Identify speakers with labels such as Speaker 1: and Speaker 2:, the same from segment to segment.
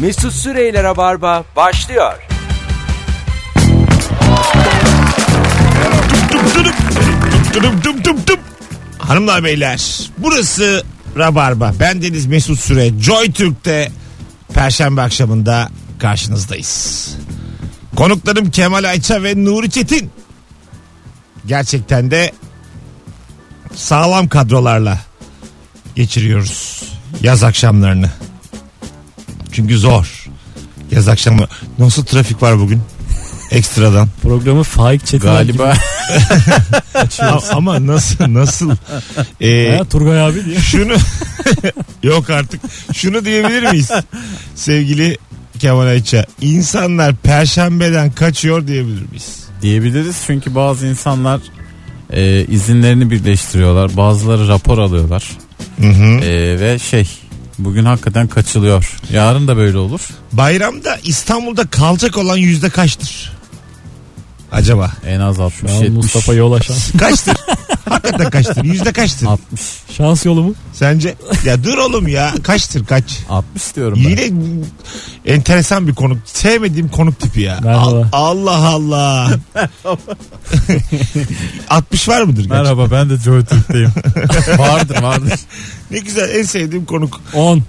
Speaker 1: Mesut Süreyler'e barba başlıyor.
Speaker 2: Dum dum dum dum. Hanımlar beyler burası Rabarba. Ben Deniz Mesut Süre. Joy Türk'te Perşembe akşamında karşınızdayız. Konuklarım Kemal Ayça ve Nuri Çetin. Gerçekten de sağlam kadrolarla geçiriyoruz yaz akşamlarını. Çünkü zor. Yaz akşamı nasıl trafik var bugün? Ekstradan.
Speaker 3: Programı Faik Çetin
Speaker 4: Galiba
Speaker 2: A- ama nasıl nasıl? Ee,
Speaker 3: Ha, Turgay abi diye.
Speaker 2: Şunu yok artık. Şunu diyebilir miyiz? Sevgili Kemal Ayça, insanlar perşembeden kaçıyor diyebilir miyiz?
Speaker 4: diyebiliriz çünkü bazı insanlar e, izinlerini birleştiriyorlar. Bazıları rapor alıyorlar. E, ve şey bugün hakikaten kaçılıyor. Yarın da böyle olur.
Speaker 2: Bayramda İstanbul'da kalacak olan yüzde kaçtır? Acaba?
Speaker 4: En az 60
Speaker 2: şey
Speaker 3: Şu an
Speaker 4: 70.
Speaker 3: Mustafa Yola şans.
Speaker 2: Kaçtır? Hakikaten kaçtır? Yüzde kaçtır?
Speaker 4: 60.
Speaker 3: Şans yolu mu?
Speaker 2: Sence? Ya dur oğlum ya. Kaçtır kaç?
Speaker 4: 60 diyorum ben.
Speaker 2: Yine enteresan bir konuk. Sevmediğim konuk tipi ya.
Speaker 3: Merhaba.
Speaker 2: Al- Allah Allah. 60 var mıdır? gerçekten?
Speaker 4: Merhaba ben de Joy Türk'teyim. vardır vardır.
Speaker 2: Ne güzel en sevdiğim konuk.
Speaker 3: 10.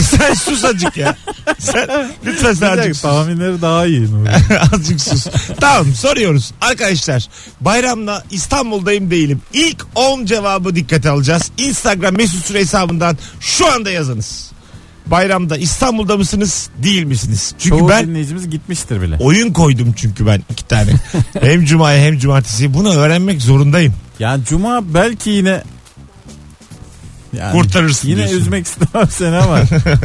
Speaker 2: sen sus azıcık ya. Sen, lütfen sen
Speaker 4: Bir
Speaker 2: azıcık
Speaker 4: dakika,
Speaker 2: sus.
Speaker 4: tahminleri daha iyi. Nuri.
Speaker 2: azıcık sus. Tamam soruyoruz. Arkadaşlar bayramla İstanbul'dayım değilim. İlk 10 cevabı dikkate alacağız. Instagram mesut süre hesabından şu anda yazınız. Bayramda İstanbul'da mısınız değil misiniz? Çünkü
Speaker 4: Çoğu
Speaker 2: ben
Speaker 4: dinleyicimiz gitmiştir bile.
Speaker 2: oyun koydum çünkü ben iki tane. hem cumaya hem cumartesi. Bunu öğrenmek zorundayım.
Speaker 4: Yani cuma belki yine yani
Speaker 2: Kurtarırsın
Speaker 4: Yine
Speaker 2: diyorsun.
Speaker 4: üzmek istemem seni ama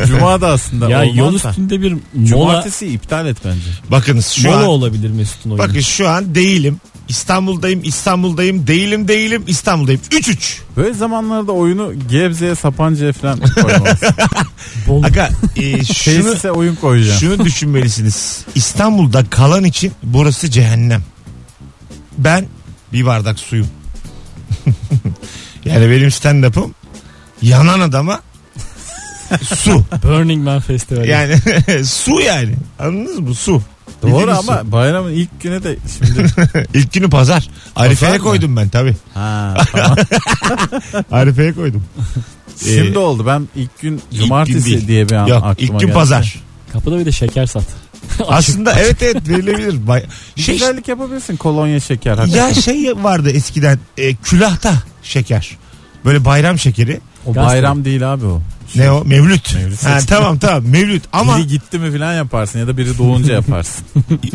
Speaker 4: cuma da aslında
Speaker 3: Ya
Speaker 4: olmazsa.
Speaker 3: yol üstünde bir mola,
Speaker 4: Cumartesi iptal et bence.
Speaker 2: Bakınız şu
Speaker 3: mola
Speaker 2: an
Speaker 3: olabilir Mesut'un oyunu.
Speaker 2: bakın şu an değilim. İstanbul'dayım, İstanbul'dayım, değilim, değilim, İstanbul'dayım. 3-3.
Speaker 4: Böyle zamanlarda oyunu Gebze'ye Sapanca'ya falan koymalısın.
Speaker 3: Bol-
Speaker 2: Aga e, şunu,
Speaker 4: Tesise oyun koyacağım.
Speaker 2: şunu düşünmelisiniz. İstanbul'da kalan için burası cehennem. Ben bir bardak suyum. yani benim stand-up'ım yanan adama su.
Speaker 3: Burning Man Festivali.
Speaker 2: Yani su yani. Anladınız mı? Su.
Speaker 4: Doğru
Speaker 2: Bildiğiniz
Speaker 4: ama bayramın ilk güne de şimdi.
Speaker 2: su. İlk günü pazar. Arife'ye
Speaker 4: mı?
Speaker 2: koydum ben tabii.
Speaker 4: ha, tamam.
Speaker 2: Arife'ye koydum.
Speaker 4: Şimdi oldu ben ilk gün
Speaker 2: Şey- İlk
Speaker 4: cumartesi
Speaker 2: gün değil.
Speaker 4: diye bir an
Speaker 2: Yok
Speaker 4: aklıma
Speaker 2: ilk gün
Speaker 4: geldi.
Speaker 2: pazar.
Speaker 3: Kapıda bir de şeker sat.
Speaker 2: Aslında evet evet verilebilir. Bay-
Speaker 4: Bir
Speaker 2: Şey,
Speaker 4: güzellik yapabilirsin kolonya şeker. hakikaten.
Speaker 2: ya şey vardı eskiden e, külahta şeker. Böyle bayram şekeri.
Speaker 4: o
Speaker 3: gazete.
Speaker 4: bayram değil abi o.
Speaker 2: Ne o? Mevlüt.
Speaker 4: Mevlüt.
Speaker 2: Ha, tamam tamam Mevlüt ama
Speaker 4: Biri gitti mi falan yaparsın ya da biri doğunca yaparsın.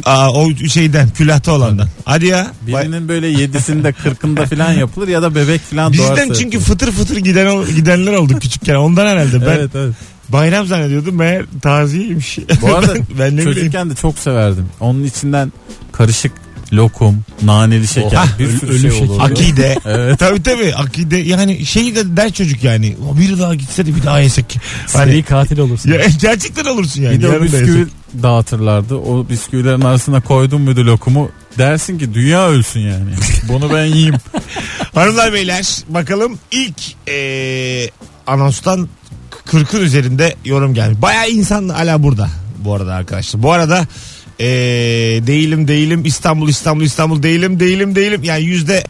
Speaker 2: aa, o şeyden külahta olandan. Hadi ya. Bay-
Speaker 4: Birinin böyle yedisinde kırkında falan yapılır ya da bebek falan doğarsa.
Speaker 2: Bizden çünkü
Speaker 4: yapılır.
Speaker 2: fıtır fıtır giden ol- gidenler oldu küçükken. Ondan herhalde ben
Speaker 4: Evet evet.
Speaker 2: bayram zannediyordum meğer taziyeymiş.
Speaker 4: Bu arada
Speaker 2: ben, ben ne bileyim.
Speaker 4: Çocukken de çok severdim. Onun içinden karışık lokum, naneli şeker,
Speaker 2: Hah,
Speaker 4: bir sürü şey olurdu.
Speaker 2: Akide.
Speaker 4: Evet.
Speaker 2: tabii tabii akide yani şeyi de der çocuk yani o bir daha gitse de bir daha yesek.
Speaker 3: Seri
Speaker 2: Hani,
Speaker 3: katil olursun.
Speaker 2: ya, gerçekten olursun yani.
Speaker 4: Bir de o
Speaker 2: yarın da
Speaker 4: bisküvi
Speaker 2: yesek.
Speaker 4: dağıtırlardı. O bisküvilerin arasına koydun muydu lokumu dersin ki dünya ölsün yani. Bunu ben yiyeyim.
Speaker 2: Hanımlar beyler bakalım ilk eee anonstan 40'ın üzerinde yorum gelmiş. Bayağı insan hala burada bu arada arkadaşlar. Bu arada eee, değilim değilim İstanbul İstanbul İstanbul değilim değilim değilim. Yani yüzde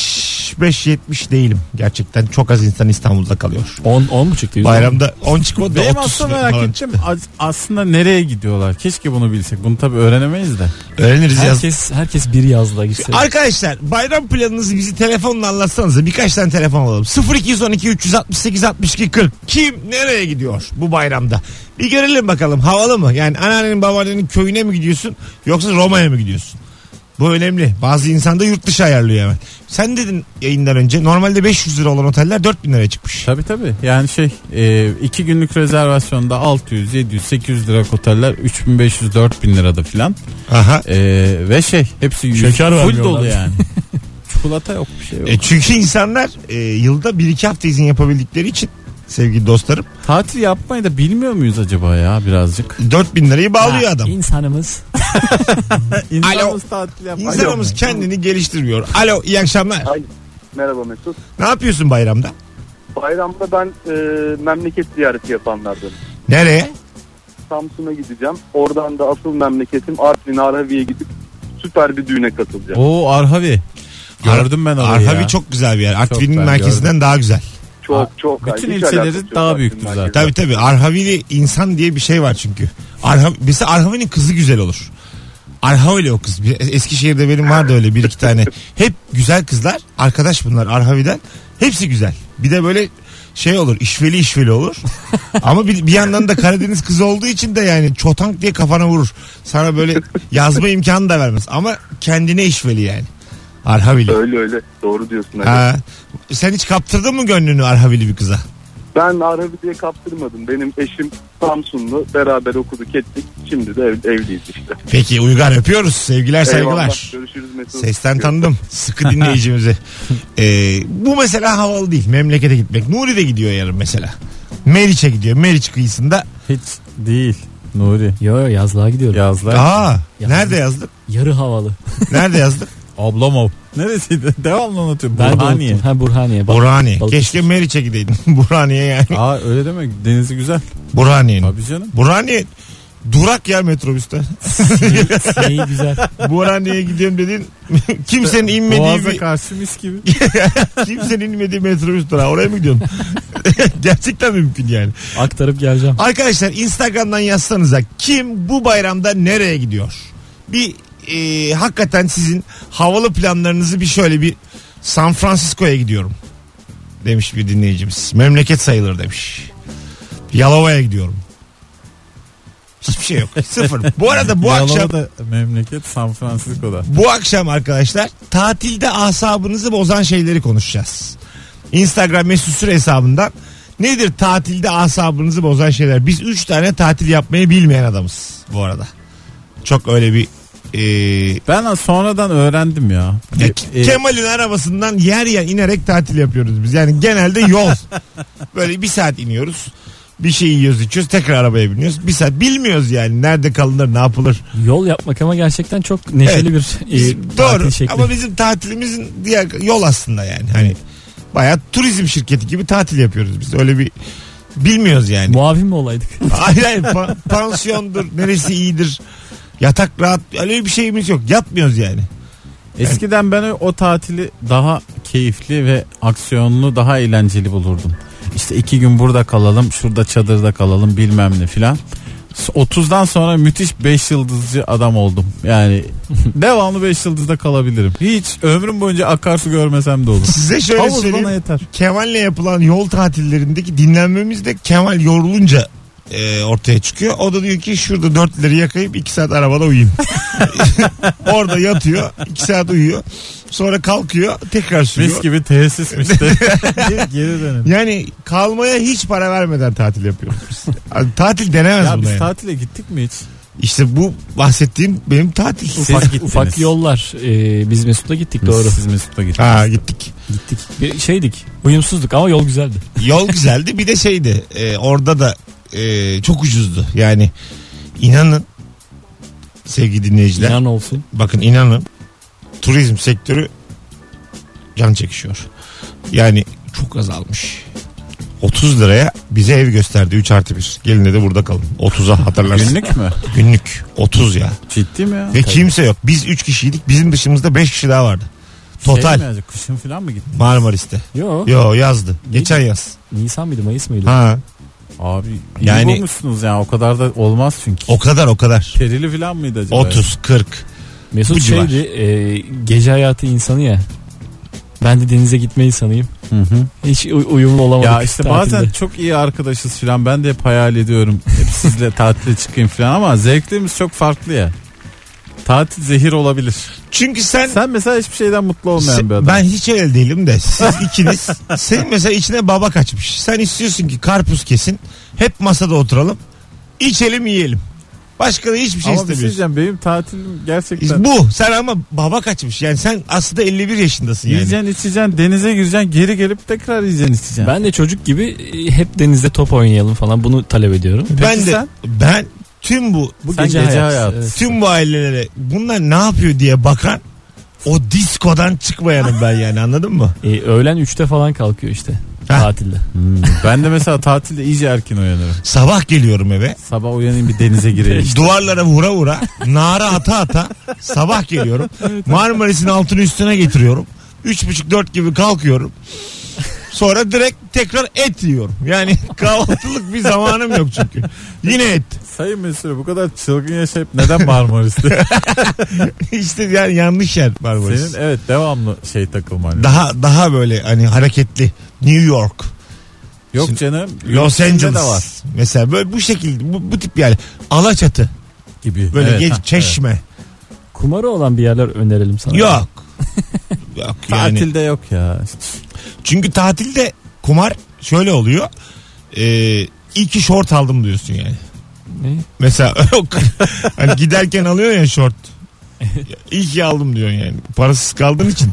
Speaker 2: 65-70 değilim. Gerçekten çok az insan İstanbul'da kalıyor.
Speaker 3: 10 10 mu çıktı?
Speaker 2: Bayramda 10 çıkmadı da
Speaker 4: Benim
Speaker 2: 30
Speaker 4: aslında merak
Speaker 2: falan
Speaker 4: ettim.
Speaker 2: çıktı.
Speaker 4: az- Aslında nereye gidiyorlar? Keşke bunu bilsek. Bunu tabii öğrenemeyiz de.
Speaker 2: Öğreniriz yaz.
Speaker 3: Herkes herkes bir yazla gitse.
Speaker 2: Arkadaşlar bayram planınızı bizi telefonla anlatsanıza birkaç tane telefon alalım. 0212 368 62 40 kim nereye gidiyor bu bayramda? Bir görelim bakalım havalı mı? Yani anneannenin babaannenin köyüne mi gidiyorsun yoksa Roma'ya mı gidiyorsun? Bu önemli. Bazı insan da yurt dışı ayarlıyor hemen. Sen dedin yayından önce normalde 500 lira olan oteller 4000 liraya çıkmış.
Speaker 4: Tabii tabii. Yani şey e, iki günlük rezervasyonda 600, 700, 800 lira oteller 3500, 4000 lirada filan.
Speaker 2: Aha.
Speaker 4: E, ve şey hepsi yüz,
Speaker 3: Şeker
Speaker 4: full
Speaker 3: vermiyorlar.
Speaker 4: dolu yani. Çikolata yok bir şey yok.
Speaker 2: E çünkü insanlar e, yılda 1-2 hafta izin yapabildikleri için sevgili dostlarım
Speaker 4: Tatil yapmayı da bilmiyor muyuz acaba ya birazcık?
Speaker 2: 4000 lirayı bağlıyor
Speaker 3: Ha,
Speaker 2: adam.
Speaker 3: İnsanımız.
Speaker 4: İnsanımız tatil yapmayı
Speaker 2: İnsanımız kendini geliştirmiyor. Alo iyi akşamlar.
Speaker 5: Ay, merhaba Mesut.
Speaker 2: Ne yapıyorsun bayramda?
Speaker 5: Bayramda ben e, memleket ziyareti yapanlardanım.
Speaker 2: Nereye?
Speaker 5: Samsun'a gideceğim. Oradan da asıl memleketim Artvin Arhavi'ye gidip süper bir düğüne katılacağım.
Speaker 4: Oo Arhavi. Gördüm ben orayı
Speaker 2: Arhavi
Speaker 4: ya.
Speaker 2: çok güzel bir yer. Artvin'in
Speaker 4: ben
Speaker 2: merkezinden daha güzel.
Speaker 5: Çok çok.
Speaker 4: Bütün
Speaker 5: Hiç
Speaker 4: ilçeleri
Speaker 5: alakası yok
Speaker 4: daha
Speaker 5: Artvin
Speaker 4: büyüktür zaten.
Speaker 5: merkezle.
Speaker 2: Tabii tabii. Arhavili insan diye bir şey var çünkü. Arhav mesela Arhavi'nin kızı güzel olur. Arhavili o kız. Bir- Eskişehir'de benim vardı öyle bir iki tane. Hep güzel kızlar. Arkadaş bunlar Arhavi'den. Hepsi güzel. Bir de böyle şey olur işveli işveli olur. Ama bir, bir yandan da Karadeniz kızı olduğu için de yani çotank diye kafana vurur. Sana böyle yazma imkanı da vermez. Ama kendine işveli yani. Arhavili.
Speaker 5: Öyle öyle. Doğru diyorsun. Ali.
Speaker 2: Ha, sen hiç kaptırdın mı gönlünü Arhavili bir kıza?
Speaker 5: Ben Arhavi diye kaptırmadım. Benim eşim Samsunlu. Beraber okuduk ettik. Şimdi de ev- evliyiz işte.
Speaker 2: Peki Uygar öpüyoruz. Sevgiler saygılar.
Speaker 5: Eyvallah. Görüşürüz Mesut.
Speaker 2: Sesten tanıdım. Sıkı dinleyicimizi. Ee, bu mesela havalı değil. Memlekete gitmek. Nuri de gidiyor yarın mesela. Meriç'e gidiyor. Meriç kıyısında.
Speaker 4: Hiç değil. Nuri.
Speaker 3: Yo yo yazlığa gidiyorum.
Speaker 4: Yazlar.
Speaker 2: Aa,
Speaker 3: Yazdık.
Speaker 2: nerede yazdık?
Speaker 3: Yarı havalı.
Speaker 2: Nerede yazdık?
Speaker 4: Ablamov. Neresiydi? Devamlı unutuyorum.
Speaker 3: Ben de
Speaker 4: Burhaniye.
Speaker 3: unuttum. Ha Burhaniye. Bak,
Speaker 2: Burhaniye.
Speaker 3: Balıkesir.
Speaker 2: Keşke Meriç'e gideydin. Burhaniye yani.
Speaker 4: Aa öyle deme. Denizi güzel.
Speaker 2: Burhaniye'nin.
Speaker 4: Abi canım.
Speaker 2: Burhaniye durak ya metrobüste.
Speaker 3: Neyi güzel.
Speaker 2: Burhaniye'ye gidiyorum dedin. kimsenin inmediği
Speaker 4: Boğaza
Speaker 2: bir,
Speaker 4: karşı mis gibi.
Speaker 2: kimsenin inmediği metrobüs durağı. Oraya mı gidiyorsun? Gerçekten mümkün yani.
Speaker 3: Aktarıp geleceğim.
Speaker 2: Arkadaşlar Instagram'dan yazsanıza kim bu bayramda nereye gidiyor? Bir e, hakikaten sizin havalı planlarınızı bir şöyle bir San Francisco'ya gidiyorum demiş bir dinleyicimiz. Memleket sayılır demiş. Yalova'ya gidiyorum. Hiçbir şey yok. Sıfır. Bu arada bu akşam
Speaker 4: Yalova'da memleket San Francisco'da.
Speaker 2: bu akşam arkadaşlar tatilde asabınızı bozan şeyleri konuşacağız. Instagram mesut süre hesabından nedir tatilde asabınızı bozan şeyler? Biz 3 tane tatil yapmayı bilmeyen adamız bu arada. Çok öyle bir e,
Speaker 4: Ben sonradan öğrendim ya.
Speaker 2: ya
Speaker 4: E, e,
Speaker 2: Kemal'in arabasından yer yer inerek tatil yapıyoruz biz. Yani genelde yol. Böyle bir saat iniyoruz. Bir şey yiyoruz içiyoruz tekrar arabaya biniyoruz. Bir saat bilmiyoruz yani nerede kalınır ne yapılır.
Speaker 3: Yol yapmak ama gerçekten çok neşeli bir
Speaker 2: Biz-
Speaker 3: e, tatil
Speaker 2: Ee, doğru
Speaker 3: şekli.
Speaker 2: ama bizim tatilimizin diğer yol aslında yani. Hani bayağı turizm şirketi gibi tatil yapıyoruz biz. Öyle bir bilmiyoruz yani.
Speaker 3: Muavin mi olaydık?
Speaker 2: hayır hayır pa- pansiyondur, neresi iyidir. Yatak rahat öyle bir şeyimiz yok. Yapmıyoruz yani.
Speaker 4: eskiden ben o, o tatili daha keyifli ve aksiyonlu daha eğlenceli bulurdum. İşte iki gün burada kalalım, şurada çadırda kalalım bilmem ne filan. S- 30'dan sonra müthiş 5 yıldızcı adam oldum. Yani devamlı 5 yıldızda kalabilirim. Hiç ömrüm boyunca akarsu görmesem de olur.
Speaker 2: Size şöyle
Speaker 4: Havuz
Speaker 2: söyleyeyim.
Speaker 4: bana yeter.
Speaker 2: Kemal'le yapılan yol tatillerindeki dinlenmemiz de Kemal yorulunca e, ortaya çıkıyor. O da diyor ki şurada dörtleri yakayıp iki saat arabada uyuyayım. Orada yatıyor. iki saat uyuyor. Sonra kalkıyor. Tekrar sürüyor.
Speaker 4: Mis gibi tesismiş de. Geri- Geri dönelim.
Speaker 2: Yani kalmaya hiç para vermeden tatil yapıyoruz biz. Yani tatil denemez
Speaker 4: Ya
Speaker 2: buna
Speaker 4: biz
Speaker 2: yani.
Speaker 4: tatile gittik mi hiç?
Speaker 2: İşte bu bahsettiğim benim tatil.
Speaker 4: Siz
Speaker 3: ufak,
Speaker 4: gittiniz.
Speaker 3: ufak yollar. E, biz Mesut'la gittik doğru.
Speaker 4: Siz Mesut'la gittiniz.
Speaker 2: Ha gittik.
Speaker 3: Gittik. Bir şeydik. Uyumsuzduk ama yol güzeldi.
Speaker 2: Yol güzeldi bir de şeydi. e, orada da e, çok ucuzdu. Yani inanın sevgili dinleyiciler.
Speaker 3: İnan olsun.
Speaker 2: Bakın inanın turizm sektörü can çekişiyor. Yani çok azalmış. 30 liraya bize ev gösterdi 3 artı 1. Gelin dedi burada kalın. 30'a hatırlarsın. Günlük.
Speaker 4: Günlük mü?
Speaker 2: 30 ya.
Speaker 4: Ciddi mi ya?
Speaker 2: Ve kimse yok. Biz 3 kişiydik. Bizim dışımızda 5 kişi daha vardı. Total.
Speaker 4: Şey mi acaba, kışın falan mı gitti?
Speaker 2: Marmaris'te.
Speaker 3: Yo.
Speaker 2: Yo yazdı. Geçen yaz.
Speaker 3: Nisan mıydı Mayıs mıydı?
Speaker 2: Ha.
Speaker 4: Abi yani,
Speaker 2: Yani-
Speaker 4: iyi bulmuşsunuz yani o kadar da olmaz çünkü.
Speaker 2: O kadar o kadar.
Speaker 4: Perili falan mıydı acaba?
Speaker 2: 30 40.
Speaker 3: Mesut
Speaker 2: Bu civar.
Speaker 3: şeydi e, gece hayatı insanı ya. Ben de denize gitme insanıyım.
Speaker 4: Hı hı.
Speaker 3: Hiç uy- uyumlu olamadık.
Speaker 4: Ya işte
Speaker 3: tatilde.
Speaker 4: bazen çok iyi arkadaşız falan ben de hep hayal ediyorum. Hep sizle tatile çıkayım falan ama zevklerimiz çok farklı ya. Tatil zehir olabilir.
Speaker 2: Çünkü sen,
Speaker 4: Sen mesela hiçbir şeyden mutlu olmayan
Speaker 2: se-
Speaker 4: bir adam.
Speaker 2: ben hiç öyle değilim de siz ikiniz senin mesela içine baba kaçmış. Sen istiyorsun ki karpuz kesin. Hep masada oturalım. İçelim yiyelim. Başka da hiçbir şey
Speaker 4: ama bir şey
Speaker 2: istemiyorsun.
Speaker 4: diyeceğim benim tatilim gerçekten...
Speaker 2: bu sen ama baba kaçmış. Yani sen aslında 51 yaşındasın yani.
Speaker 4: Yiyeceksin içeceksin denize gireceksin geri gelip tekrar yiyeceksin içeceksin.
Speaker 3: Ben de çocuk gibi e, hep denizde top oynayalım falan bunu talep ediyorum.
Speaker 2: ben de
Speaker 4: sen?
Speaker 2: ben tüm bu
Speaker 3: Bu
Speaker 4: Sen gece hayatı.
Speaker 3: evet.
Speaker 2: tüm bu ailelere bunlar ne yapıyor diye bakan o diskodan çıkmayanım ben yani anladın mı?
Speaker 3: E, öğlen 3'te falan kalkıyor işte. tatilde.
Speaker 4: Hmm. Ben de mesela tatilde iyice erken uyanırım.
Speaker 2: Sabah geliyorum eve.
Speaker 4: Sabah uyanayım bir denize gireyim.
Speaker 2: Duvarlara vura vura, nara ata ata sabah geliyorum. Marmaris'in altını üstüne getiriyorum. Üç buçuk dört gibi kalkıyorum. Sonra direkt tekrar et yiyorum. Yani kahvaltılık bir zamanım yok çünkü. Yine et.
Speaker 4: Sayın Mesut bu kadar çılgın yaşayıp neden Marmaris'te?
Speaker 2: İşte yani yanlış yer Marmaris.
Speaker 4: Senin evet devamlı şey takılman.
Speaker 2: Daha daha böyle hani hareketli New York,
Speaker 4: Yok
Speaker 2: Şimdi-
Speaker 4: canım.
Speaker 2: Los
Speaker 4: Yunanistan'da
Speaker 2: Angeles
Speaker 4: da var
Speaker 2: mesela böyle bu şekilde bu, bu tip yani Alaçatı
Speaker 4: gibi.
Speaker 2: böyle
Speaker 4: Evet,
Speaker 2: geç,
Speaker 4: ha, evet.
Speaker 2: Çeşme
Speaker 3: Kumarı olan bir yerler önerelim sana.
Speaker 2: yok yok yani
Speaker 4: Tatilde yok ya.
Speaker 2: çünkü tatilde kumar şöyle oluyor ee, iyi ki şort aldım diyorsun yani
Speaker 3: Ne?
Speaker 2: mesela yok hani giderken alıyor ya şort İyi ki aldım diyorsun yani parasız kaldığın için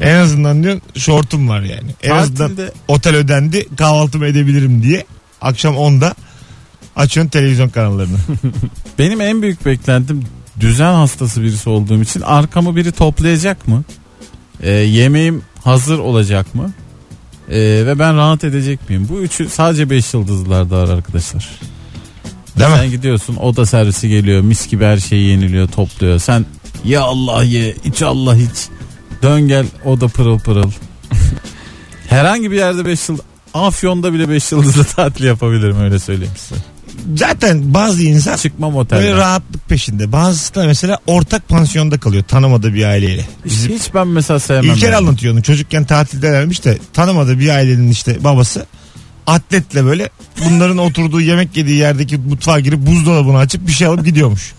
Speaker 2: en azından diyorsun şortum var yani en azından
Speaker 4: Tatilde
Speaker 2: otel ödendi kahvaltımı edebilirim diye akşam 10'da açıyorsun televizyon kanallarını.
Speaker 4: benim en büyük beklentim düzen hastası birisi olduğum için arkamı biri toplayacak mı? Ee, yemeğim hazır olacak mı? Ee, ve ben rahat edecek miyim? Bu üçü sadece 5 yıldızlarda var arkadaşlar.
Speaker 2: Değil mi?
Speaker 4: Sen gidiyorsun oda servisi geliyor mis gibi her şeyi yeniliyor topluyor. Sen ya Allah ye iç Allah iç. Dön gel oda pırıl pırıl. Herhangi bir yerde 5 yıl Afyon'da bile 5 yıldızlı tatil yapabilirim öyle söyleyeyim size.
Speaker 2: Zaten bazı insan
Speaker 4: Çıkmam
Speaker 2: böyle
Speaker 4: otelden.
Speaker 2: rahatlık peşinde. Bazısı da mesela ortak pansiyonda kalıyor tanımadığı bir aileyle.
Speaker 4: Hiç, hiç ben mesela sevmem.
Speaker 2: İlker
Speaker 4: yani.
Speaker 2: anlatıyor onu. Çocukken tatilde vermiş de tanımadığı bir ailenin işte babası atletle böyle bunların oturduğu yemek yediği yerdeki mutfağa girip buzdolabını açıp bir şey alıp gidiyormuş.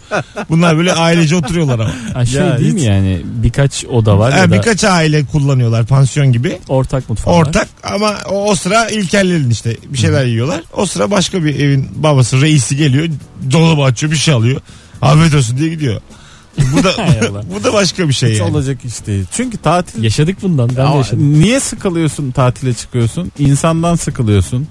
Speaker 2: Bunlar böyle ailece oturuyorlar ama.
Speaker 3: Ha, şey
Speaker 4: Ya
Speaker 3: değil
Speaker 4: hiç-
Speaker 3: mi yani birkaç oda var
Speaker 2: Ha,
Speaker 3: ya da
Speaker 2: birkaç aile kullanıyorlar pansiyon gibi.
Speaker 3: ortak mutfak var.
Speaker 2: Ortak ama o, o sıra İlkerlerin işte bir şeyler yiyorlar. O sıra başka bir evin babası reisi geliyor. Dolabı açıyor bir şey alıyor. Afiyet olsun diye gidiyor. Bu da
Speaker 3: Hay Allah.
Speaker 2: bu da başka bir şey
Speaker 4: Hiç
Speaker 2: yani.
Speaker 4: olacak iş değil. Çünkü tatil
Speaker 3: Yaşadık bundan ben de
Speaker 4: Ama
Speaker 3: yaşadım.
Speaker 4: niye sıkılıyorsun tatile çıkıyorsun? İnsandan sıkılıyorsun.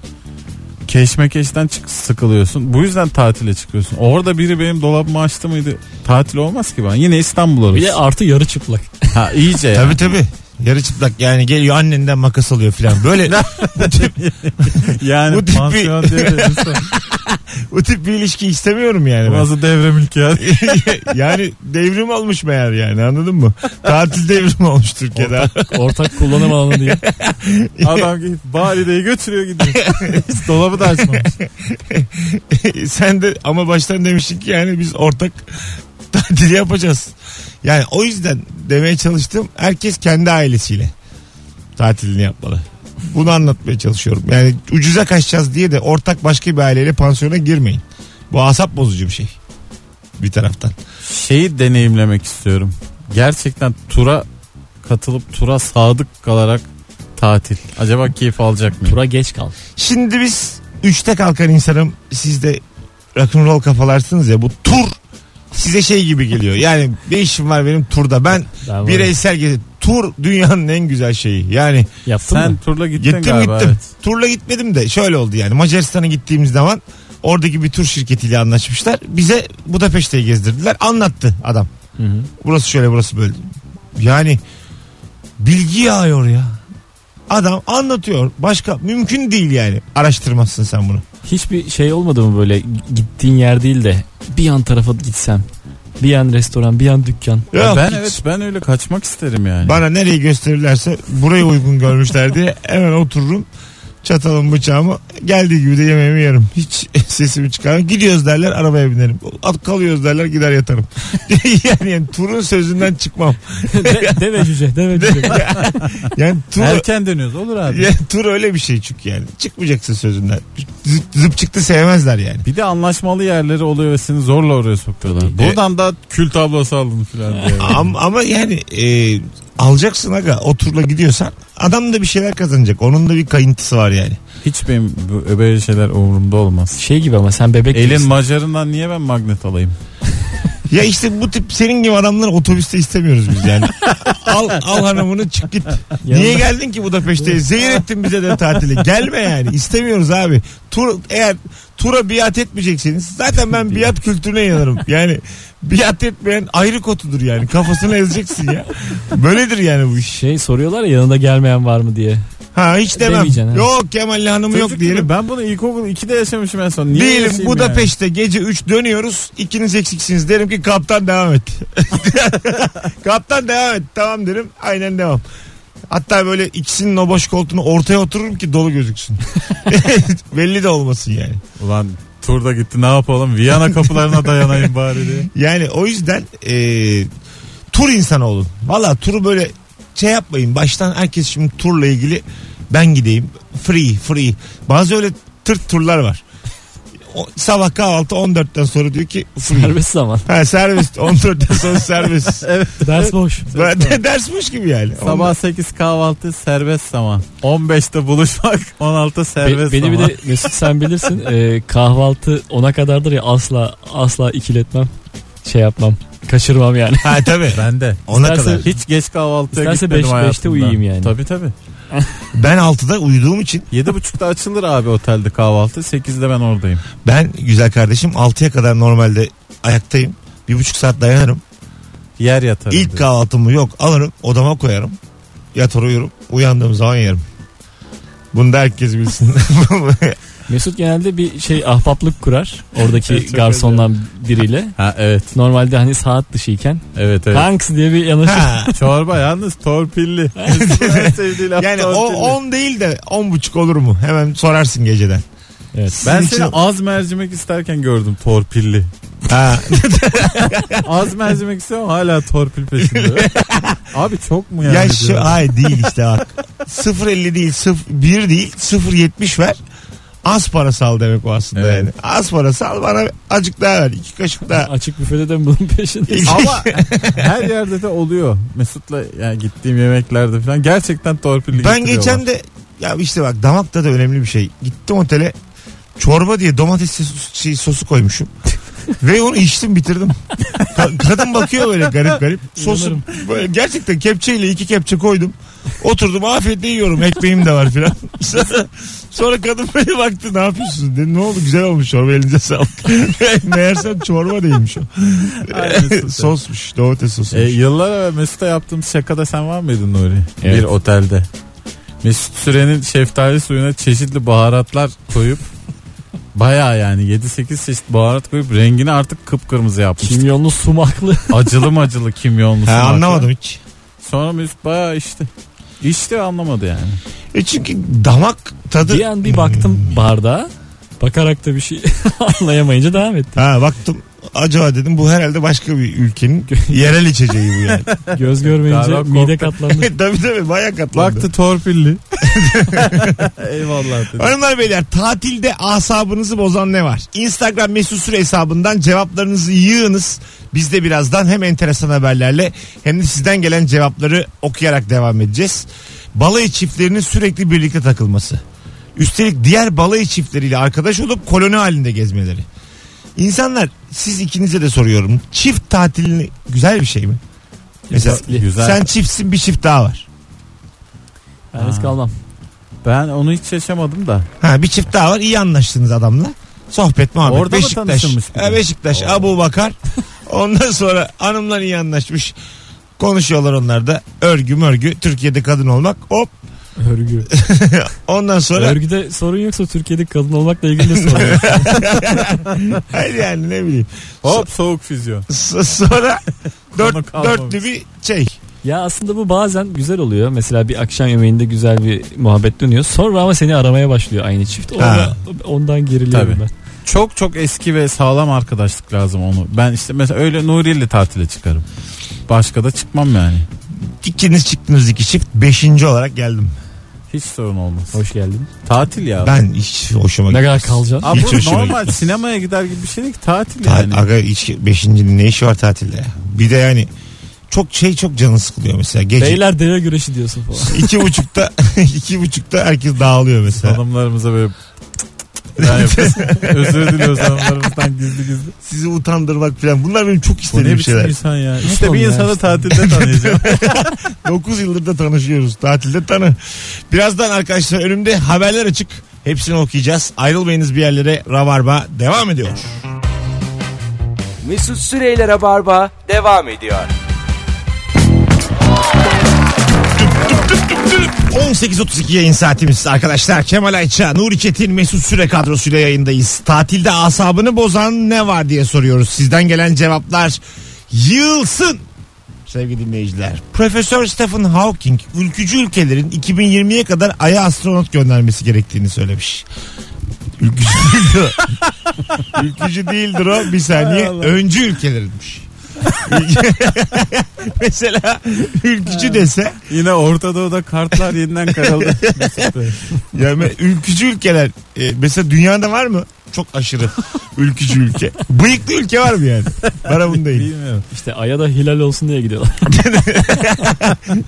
Speaker 4: Keşmekeşten çık sıkılıyorsun. Bu yüzden tatile çıkıyorsun. Orada biri benim dolabımı açtı mıydı? Tatil olmaz ki ben. Yine İstanbul
Speaker 3: Bir
Speaker 4: oluruz.
Speaker 3: de artı yarı çıplak.
Speaker 4: ha iyice ya.
Speaker 2: Tabii tabii. Yarı çıplak yani geliyor annenden makas alıyor filan. Böyle
Speaker 4: Yani
Speaker 2: Bu tip bir-
Speaker 4: pansiyon devre-
Speaker 2: bu tip bir ilişki istemiyorum yani. ben.
Speaker 4: Burası devre ki
Speaker 2: yani devrim olmuş meğer yani anladın mı? Tatil devrim olmuş Türkiye'de.
Speaker 3: Ortak kullanım alanı diye.
Speaker 4: Adam gidip Bali'deyi götürüyor gidiyor. Hiç dolabı da açmamış.
Speaker 2: Sen de ama baştan demiştin ki yani biz ortak tatil yapacağız. Yani o yüzden demeye çalıştım herkes kendi ailesiyle tatilini yapmalı. Bunu anlatmaya çalışıyorum. Yani ucuza kaçacağız diye de ortak başka bir aileyle pansiyona girmeyin. Bu asap bozucu bir şey. Bir taraftan.
Speaker 4: Şeyi deneyimlemek istiyorum. Gerçekten tura katılıp tura sadık kalarak tatil. Acaba keyif alacak mıyım?
Speaker 3: Tura geç kal.
Speaker 2: Şimdi biz 3'te kalkan insanım. Siz de rock'n'roll kafalarsınız ya bu tur size şey gibi geliyor. Yani ne işim var benim turda. Ben
Speaker 3: Ben var-
Speaker 2: bireysel gezi. Tur dünyanın en güzel şeyi. Yani
Speaker 3: yaptın
Speaker 4: Sen
Speaker 3: mı?
Speaker 4: turla gittin
Speaker 2: gittim
Speaker 4: galiba.
Speaker 2: gittim.
Speaker 4: evet.
Speaker 2: Turla gitmedim de şöyle oldu yani. Macaristan'a gittiğimiz zaman oradaki bir tur şirketiyle anlaşmışlar. Bize Budapeşte'yi gezdirdiler. Anlattı adam.
Speaker 3: Hı hı.
Speaker 2: Burası şöyle burası böyle. Yani bilgi yağıyor ya. Adam anlatıyor. Başka mümkün değil yani. Araştırmazsın sen bunu.
Speaker 3: Hiçbir şey olmadı mı böyle gittiğin yer değil de bir yan tarafa gitsem. Bir yan restoran, bir yan dükkan.
Speaker 2: Yok.
Speaker 4: ben evet ben öyle kaçmak isterim yani.
Speaker 2: Bana nereyi gösterirlerse burayı uygun görmüşler diye hemen otururum. Çatalım bıçağımı geldiği gibi de yemeğimi yerim. Hiç sesimi çıkarmam. Gidiyoruz derler arabaya binerim. At kalıyoruz derler gider yatarım. yani, yani turun sözünden çıkmam.
Speaker 3: De- deve cüce, deve cüce.
Speaker 2: Yani tur,
Speaker 4: Erken dönüyoruz olur abi.
Speaker 2: yani tur öyle bir şey çünkü yani. Çıkmayacaksın sözünden. Zıp, zıp çıktı sevmezler yani.
Speaker 4: Bir de anlaşmalı yerleri oluyor ve seni zorla oraya sokuyorlar. Buradan da kül tablası aldın falan diye.
Speaker 2: ama, ama yani e, alacaksın aga o turla gidiyorsan adam da bir şeyler kazanacak. Onun da bir kayıntısı var yani.
Speaker 4: Hiç benim bu- böyle şeyler umurumda olmaz.
Speaker 3: Şey gibi ama sen bebek
Speaker 4: Elin
Speaker 3: gibisin.
Speaker 4: macarından niye ben magnet alayım?
Speaker 2: Ya işte bu tip senin gibi adamları otobüste istemiyoruz biz yani. al, al hanımını çık git. Niye
Speaker 3: Yanında-
Speaker 2: geldin ki Budapeşte'ye? Zehir ettin bize de tatili. Gelme yani. İstemiyoruz abi. Tur, eğer tura biat etmeyeceksiniz. Zaten ben biat kültürüne inanırım. Yani biat etmeyen ayrı kotudur yani. Kafasını ezeceksin ya. Böyledir yani bu iş.
Speaker 3: Şey soruyorlar ya yanında gelmeyen var mı diye.
Speaker 2: Ha hiç demem.
Speaker 3: Demeyeceksin, ha.
Speaker 2: Yok Kemal'le hanımı yok
Speaker 4: Çocuk
Speaker 2: diyelim.
Speaker 4: gibi. Ben bunu ilkokul 2'de yaşamışım en son. Niye
Speaker 2: Diyelim
Speaker 4: yaşayayım yani?
Speaker 2: Budapeşte gece 3 dönüyoruz. İkiniz eksiksiniz. Derim ki kaptan devam et. kaptan devam et. Tamam derim. Aynen devam. Hatta böyle ikisinin o boş koltuğuna ortaya otururum ki dolu gözüksün. Belli de olmasın yani.
Speaker 4: Ulan turda gitti ne yapalım Viyana kapılarına dayanayım bari diye.
Speaker 2: Yani o yüzden e, tur insanı olun. Valla turu böyle şey yapmayın. Baştan herkes şimdi turla ilgili ben gideyim. Free free. Bazı öyle tırt turlar var. O, sabah kahvaltı 14'ten sonra diyor ki free.
Speaker 3: Serbest zaman.
Speaker 2: Ha serbest. 14'ten sonra serbest.
Speaker 3: Ders boş.
Speaker 2: Ben de dersmiş gibi yani.
Speaker 4: Sabah 8 kahvaltı serbest zaman. 15'te buluşmak 16
Speaker 3: Be-
Speaker 4: serbest
Speaker 3: beni bir
Speaker 4: zaman.
Speaker 3: de Mesut sen bilirsin e, kahvaltı ona kadardır ya asla asla ikiletmem. Şey yapmam. Kaçırmam yani.
Speaker 2: Ha tabii.
Speaker 4: Ben de.
Speaker 2: Ona
Speaker 3: İsterse-
Speaker 2: kadar.
Speaker 4: Hiç geç kahvaltıya
Speaker 3: İsterse
Speaker 4: gitmedim
Speaker 3: beş- beşte
Speaker 4: hayatımda.
Speaker 3: uyuyayım yani.
Speaker 4: Tabii tabii.
Speaker 2: Ben 6'da uyuduğum için
Speaker 4: 7.30'da açılır abi otelde kahvaltı. 8'de ben oradayım.
Speaker 2: ben güzel kardeşim 6'ya kadar normalde ayaktayım. Bir buçuk saat dayanırım.
Speaker 4: Yer yatarım.
Speaker 2: İlk
Speaker 4: dedi.
Speaker 2: kahvaltımı yok alırım odama koyarım. Yatar uyurum. Uyandığım zaman yerim. Bunu da herkes bilsin.
Speaker 3: Mesut genelde bir şey ahbaplık kurar oradaki
Speaker 4: Evet, çok
Speaker 3: garsondan biriyle.
Speaker 4: Ha evet.
Speaker 3: Normalde hani saat dışıyken
Speaker 4: Evet evet.
Speaker 3: Hanks diye bir yanaşır.
Speaker 2: Ha,
Speaker 4: Çorba yalnız torpilli. En sevdiği laf
Speaker 2: yani o
Speaker 4: torpilli.
Speaker 2: 10 değil de 10 buçuk olur mu? Hemen sorarsın geceden.
Speaker 3: Evet.
Speaker 2: Sizin
Speaker 4: Ben seni
Speaker 2: için-
Speaker 4: az mercimek isterken gördüm torpilli.
Speaker 2: Ha,
Speaker 4: Az mercimek istiyorum hala torpil peşinde. Abi çok mu yani?
Speaker 2: Ya şu ay değil işte bak. 0.50 değil, 1 değil, 0.70 ver. Az para sal demek o aslında
Speaker 4: Evet.
Speaker 2: yani. Az para sal bana azıcık daha ver. iki kaşık daha.
Speaker 3: Açık büfede de bunun peşinde.
Speaker 4: Ama her yerde de oluyor. Mesut'la yani gittiğim yemeklerde falan gerçekten torpilli
Speaker 2: ben
Speaker 4: getiriyorlar.
Speaker 2: geçen de ya işte bak damakta da önemli bir şey. Gittim otele çorba diye domates sosu, şey, sosu koymuşum. Ve onu içtim bitirdim. Ka- kadın bakıyor böyle garip garip. Sosu
Speaker 3: İnanırım.
Speaker 2: böyle gerçekten kepçeyle iki kepçe koydum. Oturdum afiyetle yiyorum. Ekmeğim de var filan. Sonra- Sonra kadın böyle baktı ne yapıyorsun dedi. Ne oldu güzel olmuş çorba elinize sağlık. Meğersem çorba değilmiş o.
Speaker 4: Aynısı.
Speaker 2: Sosmuş domates sosu.
Speaker 4: E, yıllar evvel Mesut'a yaptığım şakada sen var mıydın Nuri?
Speaker 3: Evet.
Speaker 4: Bir otelde. Mesut Süren'in şeftali suyuna çeşitli baharatlar koyup baya yani 7-8 çeşit baharat koyup rengini artık kıpkırmızı yapmıştı.
Speaker 3: Kimyonlu sumaklı.
Speaker 4: Acılı macılı kimyonlu.
Speaker 2: ha,
Speaker 4: sumakla.
Speaker 2: anlamadım hiç.
Speaker 4: Sonra Mesut baya içti. İçti ve anlamadı yani.
Speaker 2: E çünkü damak tadı.
Speaker 3: bir an bir baktım bardağa. Bakarak da bir şey anlayamayınca devam ettim.
Speaker 2: Ha baktım acaba dedim bu herhalde başka bir ülkenin yerel içeceği bu yani.
Speaker 3: Göz görmeyince
Speaker 4: Galiba
Speaker 3: mide
Speaker 4: korktu.
Speaker 3: katlandı.
Speaker 2: tabii tabii baya katlandı.
Speaker 4: Baktı torpilli. Eyvallah dedi.
Speaker 2: Hanımlar beyler tatilde asabınızı bozan ne var? Instagram mesut süre hesabından cevaplarınızı yığınız. Biz de birazdan hem enteresan haberlerle hem de sizden gelen cevapları okuyarak devam edeceğiz. Balayı çiftlerinin sürekli birlikte takılması. Üstelik diğer balayı çiftleriyle arkadaş olup koloni halinde gezmeleri. İnsanlar siz ikinize de soruyorum. Çift tatilini güzel bir şey mi? Mesela
Speaker 4: Güzel.
Speaker 2: sen çiftsin bir çift daha var.
Speaker 3: Ben risk
Speaker 4: Ha.
Speaker 3: almam.
Speaker 4: Ben onu hiç yaşamadım da.
Speaker 2: Ha bir çift daha var. iyi anlaştınız adamla. Sohbet muhabbet.
Speaker 4: Orada mı
Speaker 2: Beşiktaş.
Speaker 4: tanışılmış bir de?
Speaker 2: Ha, Beşiktaş.
Speaker 4: Oo.
Speaker 2: Abu Bakar. Ondan sonra hanımlar iyi anlaşmış. Konuşuyorlar onlar da. Örgü mörgü. Türkiye'de kadın olmak. Hop.
Speaker 3: Örgü.
Speaker 2: Ondan sonra
Speaker 3: Örgüde sorun yoksa Türkiye'de kadın olmakla ilgili de sorun. yok.
Speaker 2: hayır yani ne bileyim.
Speaker 4: Hop soğuk füzyon.
Speaker 2: S- sonra dört,
Speaker 4: kalmamış.
Speaker 2: dörtlü bir şey.
Speaker 3: ya aslında bu bazen güzel oluyor. Mesela bir akşam yemeğinde güzel bir muhabbet dönüyor. Sonra ama seni aramaya başlıyor aynı çift. Orada,
Speaker 2: Ha.
Speaker 3: ondan geriliyorum
Speaker 4: Tabii.
Speaker 3: ben.
Speaker 4: Çok çok eski ve sağlam arkadaşlık lazım onu. Ben işte mesela öyle Nuri ile tatile çıkarım. Başka da çıkmam yani.
Speaker 2: İkiniz çıktınız iki çift. Beşinci olarak geldim.
Speaker 4: Hiç sorun olmaz.
Speaker 3: Hoş geldin.
Speaker 4: Tatil ya.
Speaker 2: Ben hiç hoşuma
Speaker 3: Ne
Speaker 2: gitmez.
Speaker 3: kadar kalacaksın?
Speaker 4: Aa,
Speaker 2: Hiç
Speaker 4: bu
Speaker 2: hoşuma
Speaker 4: normal sinemaya gider gibi bir şey değil ki tatil
Speaker 2: Ta-
Speaker 4: yani.
Speaker 2: Aga hiç beşincinin ne işi var tatilde ya? Bir de yani çok şey çok canı sıkılıyor mesela. Gece
Speaker 3: Beyler deve güreşi diyorsun falan.
Speaker 2: iki buçukta iki buçukta herkes dağılıyor mesela.
Speaker 4: Hanımlarımıza böyle ben yapıyorum. Özür diliyoruz hanımlarımızdan gizli gizli.
Speaker 2: Sizi utandırmak falan. Bunlar benim çok
Speaker 4: Bu ne
Speaker 2: istediğim
Speaker 4: biçim
Speaker 2: şeyler.
Speaker 4: insan ya.
Speaker 3: Nasıl
Speaker 4: İşte bir
Speaker 3: oluyor
Speaker 4: insanı
Speaker 3: işte?
Speaker 4: tatilde tanıyacağım.
Speaker 2: 9 yıldır da tanışıyoruz. Tatilde tanı. Birazdan arkadaşlar önümde haberler açık. Hepsini okuyacağız. Ayrılmayınız bir yerlere. Rabarba devam ediyor.
Speaker 1: Mesut Süreyler'e barba devam ediyor.
Speaker 2: 18.32 yayın saatimiz arkadaşlar. Kemal Ayça, Nuri Çetin, Mesut Süre kadrosuyla yayındayız. Tatilde asabını bozan ne var diye soruyoruz. Sizden gelen cevaplar yığılsın sevgili dinleyiciler. Profesör Stephen Hawking ülkücü ülkelerin 2020'ye kadar Ay'a astronot göndermesi gerektiğini söylemiş. Ülkücü değildir o. ülkücü değildir o bir saniye. Öncü ülkelerinmiş. Mesela ülkücü dese
Speaker 4: Yine Orta Doğu'da kartlar yeniden karaldı.
Speaker 2: Yani me- ülkücü ülkeler e, mesela dünyada var mı? Çok aşırı ülkücü ülke. Bıyıklı ülke var mı yani? Bana bunu değil.
Speaker 4: Bilmiyorum.
Speaker 3: İşte Ay'a da hilal olsun diye gidiyorlar.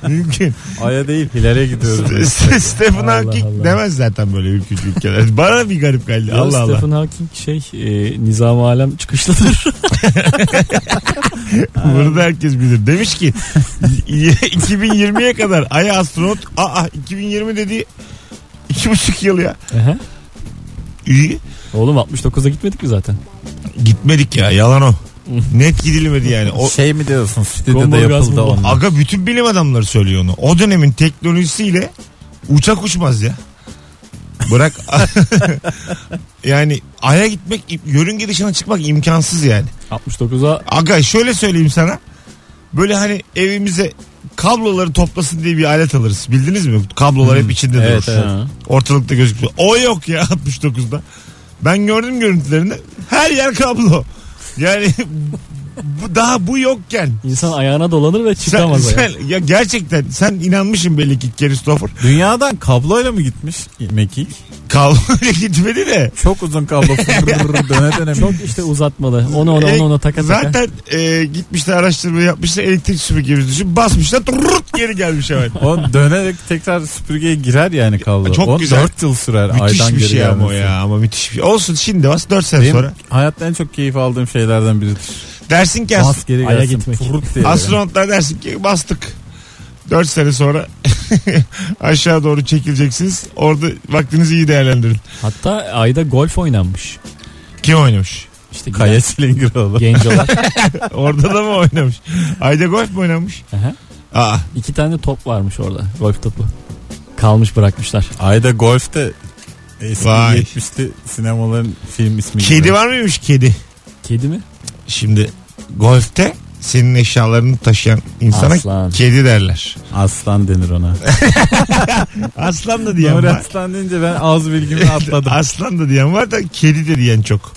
Speaker 2: Mümkün.
Speaker 4: Aya değil Hilal'e gidiyoruz.
Speaker 2: Ste- Stephen
Speaker 3: Allah
Speaker 2: Hawking
Speaker 3: Allah.
Speaker 2: demez zaten böyle ülkücü ülkeler. Bana bir garip geldi.
Speaker 3: Ya
Speaker 2: Allah Allah.
Speaker 3: Stephen Hawking şey e, nizam alem çıkışlıdır.
Speaker 2: Burada herkes bilir. Demiş ki 2020'ye kadar Ay'a astronot. Aa 2020 dedi. iki buçuk yıl ya.
Speaker 3: Ehe.
Speaker 2: İyi.
Speaker 3: Oğlum 69'a gitmedik mi zaten?
Speaker 2: Gitmedik ya yalan o. Net gidilmedi yani. O,
Speaker 4: Şey mi diyorsun? Stüdyoda
Speaker 3: Combo
Speaker 4: yapıldı
Speaker 3: orgazmı bu.
Speaker 4: onlar.
Speaker 2: Aga bütün bilim adamları söylüyor onu. O dönemin teknolojisiyle uçak uçmaz ya. Bırak yani aya gitmek yörünge dışına çıkmak imkansız yani.
Speaker 3: 69'a
Speaker 2: Aga şöyle söyleyeyim sana. Böyle hani evimize kabloları toplasın diye bir alet alırız. Bildiniz mi? Kablolar hep içinde
Speaker 4: Hmm. evet,
Speaker 2: durur.
Speaker 4: evet.
Speaker 2: Ortalıkta gözükmüyor. O yok ya 69'da. Ben gördüm görüntülerini. Her yer kablo. Yani bu, daha bu yokken
Speaker 3: insan ayağına dolanır ve
Speaker 2: sen,
Speaker 3: çıkamaz ayağa.
Speaker 2: sen- ya gerçekten sen inanmışsın belli ki Christopher.
Speaker 4: Dünyadan kabloyla mı gitmiş Mekik?
Speaker 2: Kavga gitmedi de.
Speaker 4: Çok uzun kablo fırrrr döne döne.
Speaker 3: Çok işte uzatmalı. Onu ona onu ona taka taka.
Speaker 2: Zaten e, gitmişler araştırma yapmışlar elektrik süpürgemiz düşün basmışlar turrut geri gelmiş hemen.
Speaker 4: O dönerek tekrar süpürgeye girer yani kablo.
Speaker 2: Çok
Speaker 4: o
Speaker 2: güzel.
Speaker 4: 4 yıl sürer
Speaker 2: müthiş
Speaker 4: aydan
Speaker 2: bir
Speaker 4: geri
Speaker 2: şey ama o
Speaker 4: gelmesi.
Speaker 2: ya ama müthiş bir şey. Olsun şimdi bas 4 sene
Speaker 4: Benim
Speaker 2: sonra.
Speaker 4: hayatta en çok keyif aldığım şeylerden biridir.
Speaker 2: Dersin ki as-
Speaker 4: Bas geri
Speaker 3: Ay'a
Speaker 4: gelsin.
Speaker 3: gitmek.
Speaker 4: fırrrr diye.
Speaker 2: astronotlar dersin ki bastık. 4 sene sonra aşağı doğru çekileceksiniz. Orada vaktinizi iyi değerlendirin.
Speaker 3: Hatta ayda golf oynanmış.
Speaker 2: Kim oynamış?
Speaker 3: İşte
Speaker 4: Kaya Çilingiroğlu.
Speaker 3: Gencolar.
Speaker 2: Orada da mı oynamış? Ayda golf mu oynamış?
Speaker 3: Aha.
Speaker 2: Aa
Speaker 3: İki tane top varmış orada. Golf topu. Kalmış bırakmışlar.
Speaker 4: Ayda golfte eski
Speaker 2: Vay.
Speaker 4: 70'li sinemaların film ismi
Speaker 2: kedi
Speaker 4: gibi.
Speaker 2: var mıymış kedi?
Speaker 3: Kedi mi?
Speaker 2: Şimdi golfte senin eşyalarını taşıyan insana
Speaker 3: Aslan.
Speaker 2: kedi derler.
Speaker 4: Aslan denir ona.
Speaker 2: Aslan da diyen
Speaker 4: Nuri
Speaker 2: var.
Speaker 4: Aslan deyince ben ağız bilgimi atladım.
Speaker 2: Aslan da diyen var da kedi de diyen çok.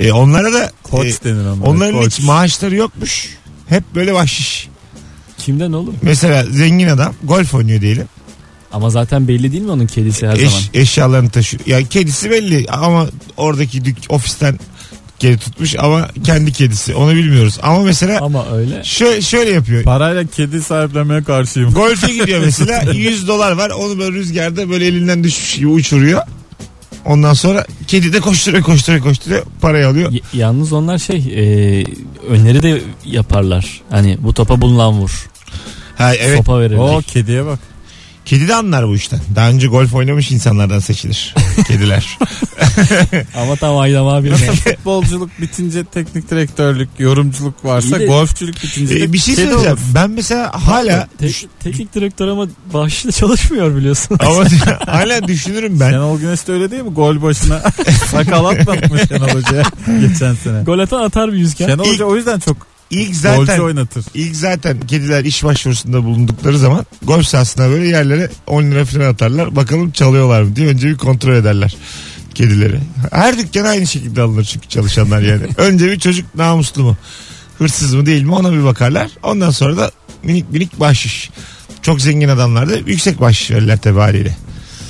Speaker 2: E, onlara da
Speaker 4: Koç
Speaker 2: e,
Speaker 4: denir ona.
Speaker 2: onların
Speaker 4: Koç.
Speaker 2: hiç maaşları yokmuş. Hep böyle bahşiş.
Speaker 3: Kimden oğlum?
Speaker 2: Mesela zengin adam golf oynuyor diyelim.
Speaker 3: Ama zaten belli değil mi onun kedisi her
Speaker 2: Eş-
Speaker 3: zaman?
Speaker 2: eşyalarını taşıyor. Yani kedisi belli ama oradaki dük- ofisten geri tutmuş ama kendi kedisi. Onu bilmiyoruz. Ama mesela
Speaker 3: Ama öyle.
Speaker 2: şö- şöyle yapıyor.
Speaker 4: Parayla kedi sahiplenmeye karşıyım.
Speaker 2: Golfe gidiyor mesela 100 dolar var onu böyle rüzgarda böyle elinden düşmüş gibi uçuruyor. Ondan sonra kedi de koşturuyor koşturuyor koşturuyor parayı alıyor.
Speaker 3: Y- yalnız onlar şey e, öneri de yaparlar. Hani bu topa bulunan vur.
Speaker 2: Ha evet
Speaker 3: Sopa
Speaker 4: O
Speaker 3: verilecek.
Speaker 4: kediye bak.
Speaker 2: kedi de anlar bu işten. Daha önce golf oynamış insanlardan seçilir kediler.
Speaker 3: Ama tam Aydam abi.
Speaker 4: Nasıl futbolculuk bitince teknik direktörlük, yorumculuk varsa
Speaker 3: İyi de-
Speaker 4: golfçülük bitince de
Speaker 2: Ee, bir şey
Speaker 4: kedi
Speaker 2: söyleyeceğim.
Speaker 4: olur.
Speaker 2: Ben mesela hala düş-
Speaker 3: Tek, teknik direktör ama bağışlı çalışmıyor biliyorsun.
Speaker 2: ama hala düşünürüm ben.
Speaker 4: Şenol Güneş de öyle değil mi? Gol başına sakal atmadı mı Şenol Hoca'ya geçen sene?
Speaker 3: Gol atan atar bir yüzken.
Speaker 4: Şenol
Speaker 2: İlk-
Speaker 4: Hoca o yüzden çok
Speaker 2: İlk
Speaker 4: golcü
Speaker 2: zaten
Speaker 4: oynatır.
Speaker 2: ilk zaten kediler iş başvurusunda bulundukları zaman golf sahasına böyle yerlere 10 lira falan atarlar. Bakalım çalıyorlar mı diye önce bir kontrol ederler kedileri. Her dükkan aynı şekilde alınır çünkü çalışanlar yani. önce bir çocuk namuslu mu? Hırsız mı değil mi ona bir bakarlar. Ondan sonra da minik minik bahşiş. Çok zengin adamlar da yüksek bahşiş verirler tabii haliyle.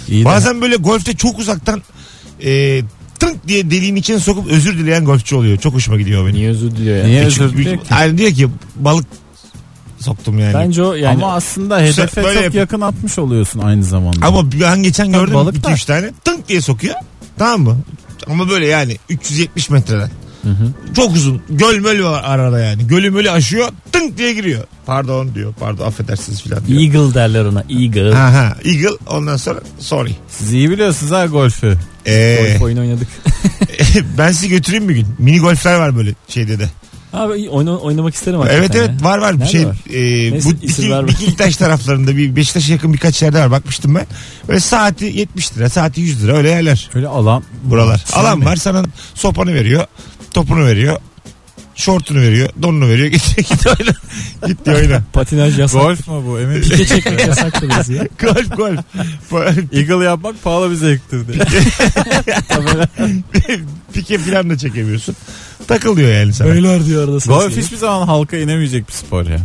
Speaker 4: İyi de
Speaker 2: Bazen böyle golfte çok uzaktan e, tınk diye deliğin içine sokup özür dileyen golfçi oluyor. Çok hoşuma gidiyor benim.
Speaker 3: Niye özür diliyor ya?
Speaker 4: Niye
Speaker 2: E
Speaker 4: özür
Speaker 2: çünkü-
Speaker 4: diliyor ki?
Speaker 2: Yani diyor ki balık soktum yani.
Speaker 3: Bence o yani
Speaker 4: Ama aslında hedefe
Speaker 2: Böyle
Speaker 4: çok
Speaker 2: yap-
Speaker 4: yakın atmış oluyorsun aynı zamanda.
Speaker 2: Ama ben geçen gördüm
Speaker 4: balık
Speaker 2: 2-3
Speaker 4: da.
Speaker 2: tane tınk diye sokuyor. Tamam mı? Ama böyle yani 370 metreden. Çok uzun. Göl möl var arada yani. Gölü mölü aşıyor. Tınk diye giriyor. Pardon diyor. Pardon affedersiniz filan diyor.
Speaker 3: Eagle derler ona. Eagle.
Speaker 2: Aha, Eagle ondan sonra sorry.
Speaker 4: Siz iyi biliyorsunuz ha golfü.
Speaker 2: Ee,
Speaker 3: Golf oyunu oynadık.
Speaker 2: ben sizi götüreyim bir gün. Mini golfler var böyle şeyde de.
Speaker 3: Abi iyi, oyna- oynamak isterim
Speaker 2: evet
Speaker 3: hakikaten
Speaker 2: evet
Speaker 3: ya.
Speaker 2: var var.
Speaker 3: Nerede
Speaker 2: şey,
Speaker 3: var?
Speaker 2: e,
Speaker 3: Neyse,
Speaker 2: bu
Speaker 3: isim verme.
Speaker 2: Dikilitaş taraflarında bir Beşiktaş'a yakın birkaç yerde var. Bakmıştım ben. Böyle saati 70 lira saati 100 lira öyle yerler
Speaker 4: Öyle alan.
Speaker 2: buralar.
Speaker 4: Sen
Speaker 2: Alan
Speaker 4: mi?
Speaker 2: var sana sopanı veriyor. Topunu veriyor. Şortunu veriyor. Donunu veriyor. Git, git oyna. git diye oyna.
Speaker 3: Patinaj yasak.
Speaker 4: Golf mu bu emin
Speaker 3: Pike çekmek yasak biraz ya.
Speaker 2: golf golf.
Speaker 4: Eagle yapmak pahalı bir zevktir diye.
Speaker 2: Pike falan da çekemiyorsun. Takılıyor yani sana.
Speaker 3: Öyle diyor arada.
Speaker 4: Golf hiçbir zaman halka inemeyecek bir spor ya.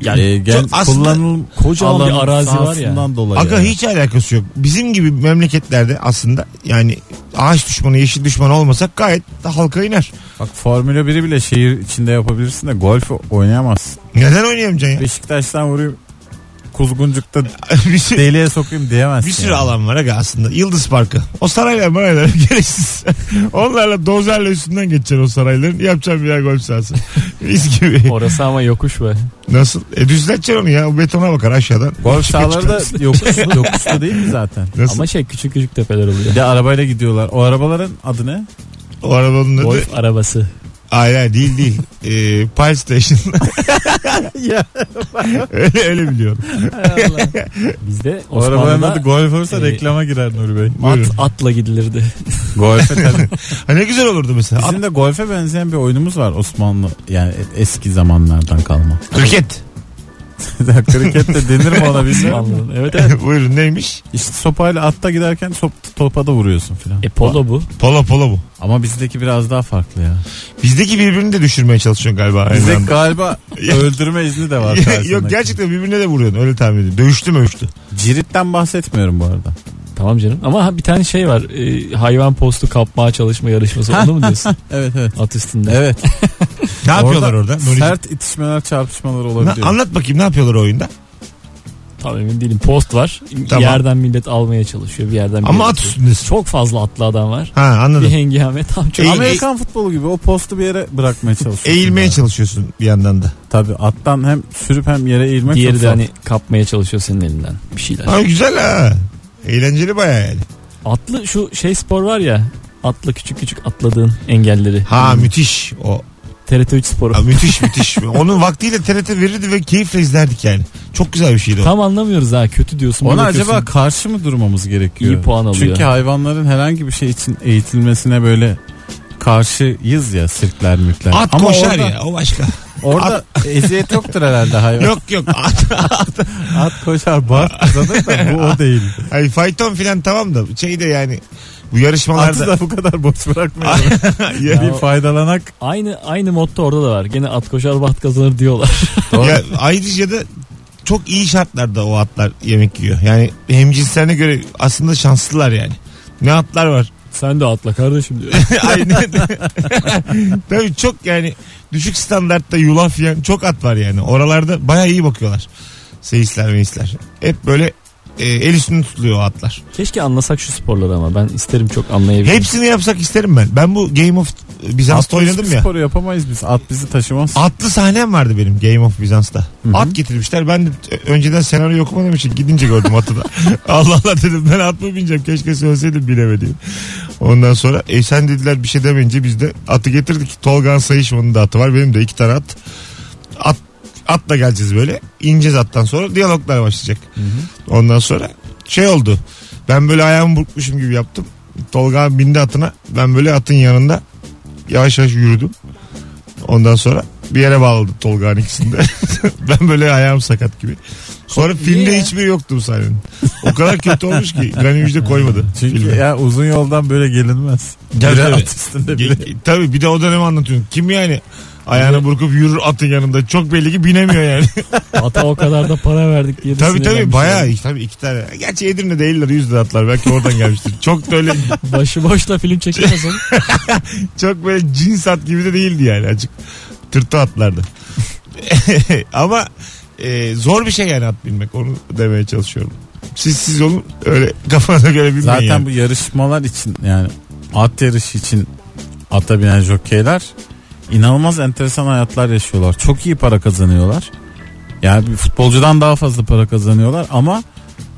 Speaker 3: Yani
Speaker 4: Ee, gel,
Speaker 2: çok aslında-
Speaker 4: kullanıl
Speaker 3: Kocaman bir
Speaker 4: alanın
Speaker 3: arazi var ya.
Speaker 4: sahasından Dolayı
Speaker 2: Aga
Speaker 4: yani.
Speaker 2: hiç alakası yok. Bizim gibi memleketlerde aslında yani ağaç düşmanı, yeşil düşmanı olmasak gayet de halka iner.
Speaker 4: Bak Formula 1'i bile şehir içinde yapabilirsin de golf oynayamazsın.
Speaker 2: Neden oynayamayacaksın ya?
Speaker 4: Beşiktaş'tan vurayım. Kuzguncuk'ta
Speaker 2: bir, sürü,
Speaker 4: deliğe sokayım diyemezsin.
Speaker 2: bir sürü
Speaker 4: yani.
Speaker 2: alan var aga aslında. Yıldız Parkı. O saraylar maraylar gereksiz. Onlarla dozerle üstünden geçeceksin o sarayların. Yapacaksın bir yer golf sahası. Biz gibi.
Speaker 3: Orası ama yokuş be.
Speaker 2: Nasıl? E düzleteceksin onu ya. O betona bakar aşağıdan.
Speaker 4: Golf sahaları da yokuş, yokuşta değil mi zaten?
Speaker 2: Nasıl?
Speaker 3: Ama şey küçük küçük tepeler
Speaker 4: Bir
Speaker 3: oluyor.
Speaker 4: de arabayla gidiyorlar. O arabaların adı ne?
Speaker 2: O arabanın adı.
Speaker 3: Golf arabası.
Speaker 2: Hayır hayır, değil değil. Ee, Pile Station.
Speaker 4: Ya.
Speaker 2: öyle, öyle biliyorum.
Speaker 3: Bizde
Speaker 4: O arabanın adı
Speaker 3: Osmanlı'da
Speaker 4: golf olsa
Speaker 2: e,
Speaker 3: Ee,
Speaker 4: reklama girer Nuri Bey.
Speaker 2: Buyurun.
Speaker 3: at, atla gidilirdi.
Speaker 4: Golfe tabii.
Speaker 2: Ha, ne güzel olurdu mesela.
Speaker 4: Bizim de golfe benzeyen bir oyunumuz var Osmanlı. Yani e, eski zamanlardan kalma.
Speaker 2: Kriket.
Speaker 4: Kriket de denir mi ona bilmiyorum.
Speaker 3: Osmanlı'nın. Evet evet.
Speaker 2: Buyurun neymiş?
Speaker 4: İşte sopayla atta giderken top, topa da vuruyorsun filan.
Speaker 3: E polo bu.
Speaker 2: Polo polo bu.
Speaker 4: Ama bizdeki biraz daha farklı ya.
Speaker 2: Bizdeki birbirini de düşürmeye çalışıyorsun galiba. aynı
Speaker 4: Bizde
Speaker 2: anda.
Speaker 4: galiba öldürme izni de var karşısındaki.
Speaker 2: Yok gerçekten birbirine de vuruyorsun öyle tahmin ediyorum. Dövüştü mövüştü.
Speaker 4: Ciritten bahsetmiyorum bu arada.
Speaker 3: Tamam canım. Ama ha- bir tane şey var. E, hayvan postu kapmaya çalışma yarışması. Onu mu diyorsun?
Speaker 4: Evet evet.
Speaker 3: At üstünde.
Speaker 4: Evet.
Speaker 2: Ne yapıyorlar orada? Nuri?
Speaker 4: Sert itişmeler çarpışmalar
Speaker 2: Na-
Speaker 4: olabiliyor.
Speaker 2: anlat bakayım ne yapıyorlar oyunda?
Speaker 3: Tam emin değilim. Post var.
Speaker 2: Tamam.
Speaker 3: Yerden millet almaya çalışıyor. Bir yerden
Speaker 2: Ama
Speaker 3: millet-
Speaker 2: at üstündesin.
Speaker 3: Çok fazla atlı adam var.
Speaker 2: Ha
Speaker 3: Bir
Speaker 2: anladım.
Speaker 3: hengame tam çok.
Speaker 2: Eğil-
Speaker 4: Amerikan futbolu gibi o postu bir yere bırakmaya çalışıyorsun.
Speaker 2: Eğilmeye
Speaker 4: Yani.
Speaker 2: çalışıyorsun bir yandan da.
Speaker 4: Tabii attan hem sürüp hem yere eğilmek
Speaker 3: Diğeri
Speaker 4: çok
Speaker 3: de
Speaker 4: zor.
Speaker 3: hani kapmaya çalışıyor senin elinden bir şeyler.
Speaker 2: Ha güzel ha. Eğlenceli baya yani.
Speaker 3: Atlı şu şey spor var ya. Atlı küçük küçük atladığın engelleri. Hani
Speaker 2: Ha
Speaker 4: Hmm.
Speaker 2: müthiş o.
Speaker 3: TRT 3 sporu.
Speaker 2: Ha, müthiş müthiş. Onun vaktiyle TRT verirdi ve keyifle izlerdik yani. Çok güzel bir şeydi o.
Speaker 3: Tam anlamıyoruz ha kötü diyorsun. bir
Speaker 4: Ona
Speaker 3: bakıyorsun,
Speaker 4: acaba karşı mı durmamız gerekiyor?
Speaker 3: İyi puan alıyor.
Speaker 4: Çünkü hayvanların herhangi bir şey için eğitilmesine böyle karşıyız ya sirkler mülkler.
Speaker 2: At
Speaker 4: Ama
Speaker 2: koşar
Speaker 4: orada,
Speaker 2: ya o başka.
Speaker 4: Orada eziyet yoktur herhalde hayvan.
Speaker 2: yok yok at
Speaker 4: At koşar bar kazanır da bu o değil.
Speaker 2: Ay fayton filan tamam da şey de yani bu
Speaker 4: Atı
Speaker 2: yarışmalarda
Speaker 4: da bu kadar boş bırakmayalım.
Speaker 2: Ya-
Speaker 4: bir faydalanak.
Speaker 3: Aynı aynı modda orada da var. Gene at koşar baht kazanır diyorlar.
Speaker 2: ya, ayrıca da çok iyi şartlarda o atlar yemek yiyor. Yani hemcinslerine göre aslında şanslılar yani. Ne atlar var.
Speaker 3: Sen de atla kardeşim diyor.
Speaker 2: Aynen. Tabii çok yani düşük standartta yulaf yiyen çok at var yani. Oralarda baya iyi bakıyorlar. Seyisler meyisler. Hep böyle e, el üstünde tutuluyor o atlar.
Speaker 3: Keşke anlasak şu sporları ama ben isterim çok anlayabilirim.
Speaker 2: Hepsini yapsak isterim ben. Ben bu Game of Bizans'ta
Speaker 4: Atlı
Speaker 2: oynadım
Speaker 4: hiçbir
Speaker 2: ya.
Speaker 4: Sporu yapamayız biz. At bizi taşımaz.
Speaker 2: Atlı sahnem vardı benim Game of Bizans'ta.
Speaker 4: hı.
Speaker 2: At getirmişler. Ben de ö- önceden senaryo okumadığım için gidince gördüm atı da. Allah Allah dedim ben at mı bineceğim keşke söyleseydim bilemediğim. Ondan sonra e sen dediler bir şey demeyince biz de atı getirdik. Tolgan Sayışman'ın da atı var. Benim de iki tane at. At atla geleceğiz böyle. İneceğiz attan sonra diyaloglar başlayacak. Ondan sonra şey oldu. Ben böyle ayağımı burkmuşum gibi yaptım. Tolga abi bindi atına. Ben böyle atın yanında yavaş yavaş yürüdüm. Ondan sonra bir yere bağladım Tolga'nın ikisini de. ben böyle ayağım sakat gibi. Sonra filmde
Speaker 3: ya?
Speaker 2: hiçbir yoktu bu sahnenin. O kadar kötü olmuş ki Gani Müjde koymadı.
Speaker 4: Çünkü
Speaker 2: filme.
Speaker 4: ya uzun yoldan böyle gelinmez.
Speaker 2: Tabii,
Speaker 4: Biri
Speaker 2: tabii.
Speaker 4: at üstünde biri.
Speaker 2: Ge- Tabii bir de o dönemi anlatıyorum. Kim yani ayağını burkup yürür atın yanında. Çok belli ki binemiyor yani.
Speaker 3: Ata o kadar da para verdik diye de
Speaker 2: tabii tabii
Speaker 3: sinirlenmişler.
Speaker 2: bayağı iyi. Tabii iki tane. Gerçi Edirne'de 50 lira 100 lira atlar. Belki oradan gelmiştir. Çok da öyle
Speaker 3: Başıboşla film çekemez oğlum.
Speaker 2: çok böyle cins at gibi de değildi yani. Açık tırtı atlardı. Ama e, zor bir şey yani at binmek. Onu demeye çalışıyorum. Siz siz olun öyle kafanıza göre binmeyin.
Speaker 4: Zaten
Speaker 2: yani.
Speaker 4: bu yarışmalar için yani at yarışı için ata binen jokeyler inanılmaz enteresan hayatlar yaşıyorlar. Çok iyi para kazanıyorlar. Yani bir futbolcudan daha fazla para kazanıyorlar ama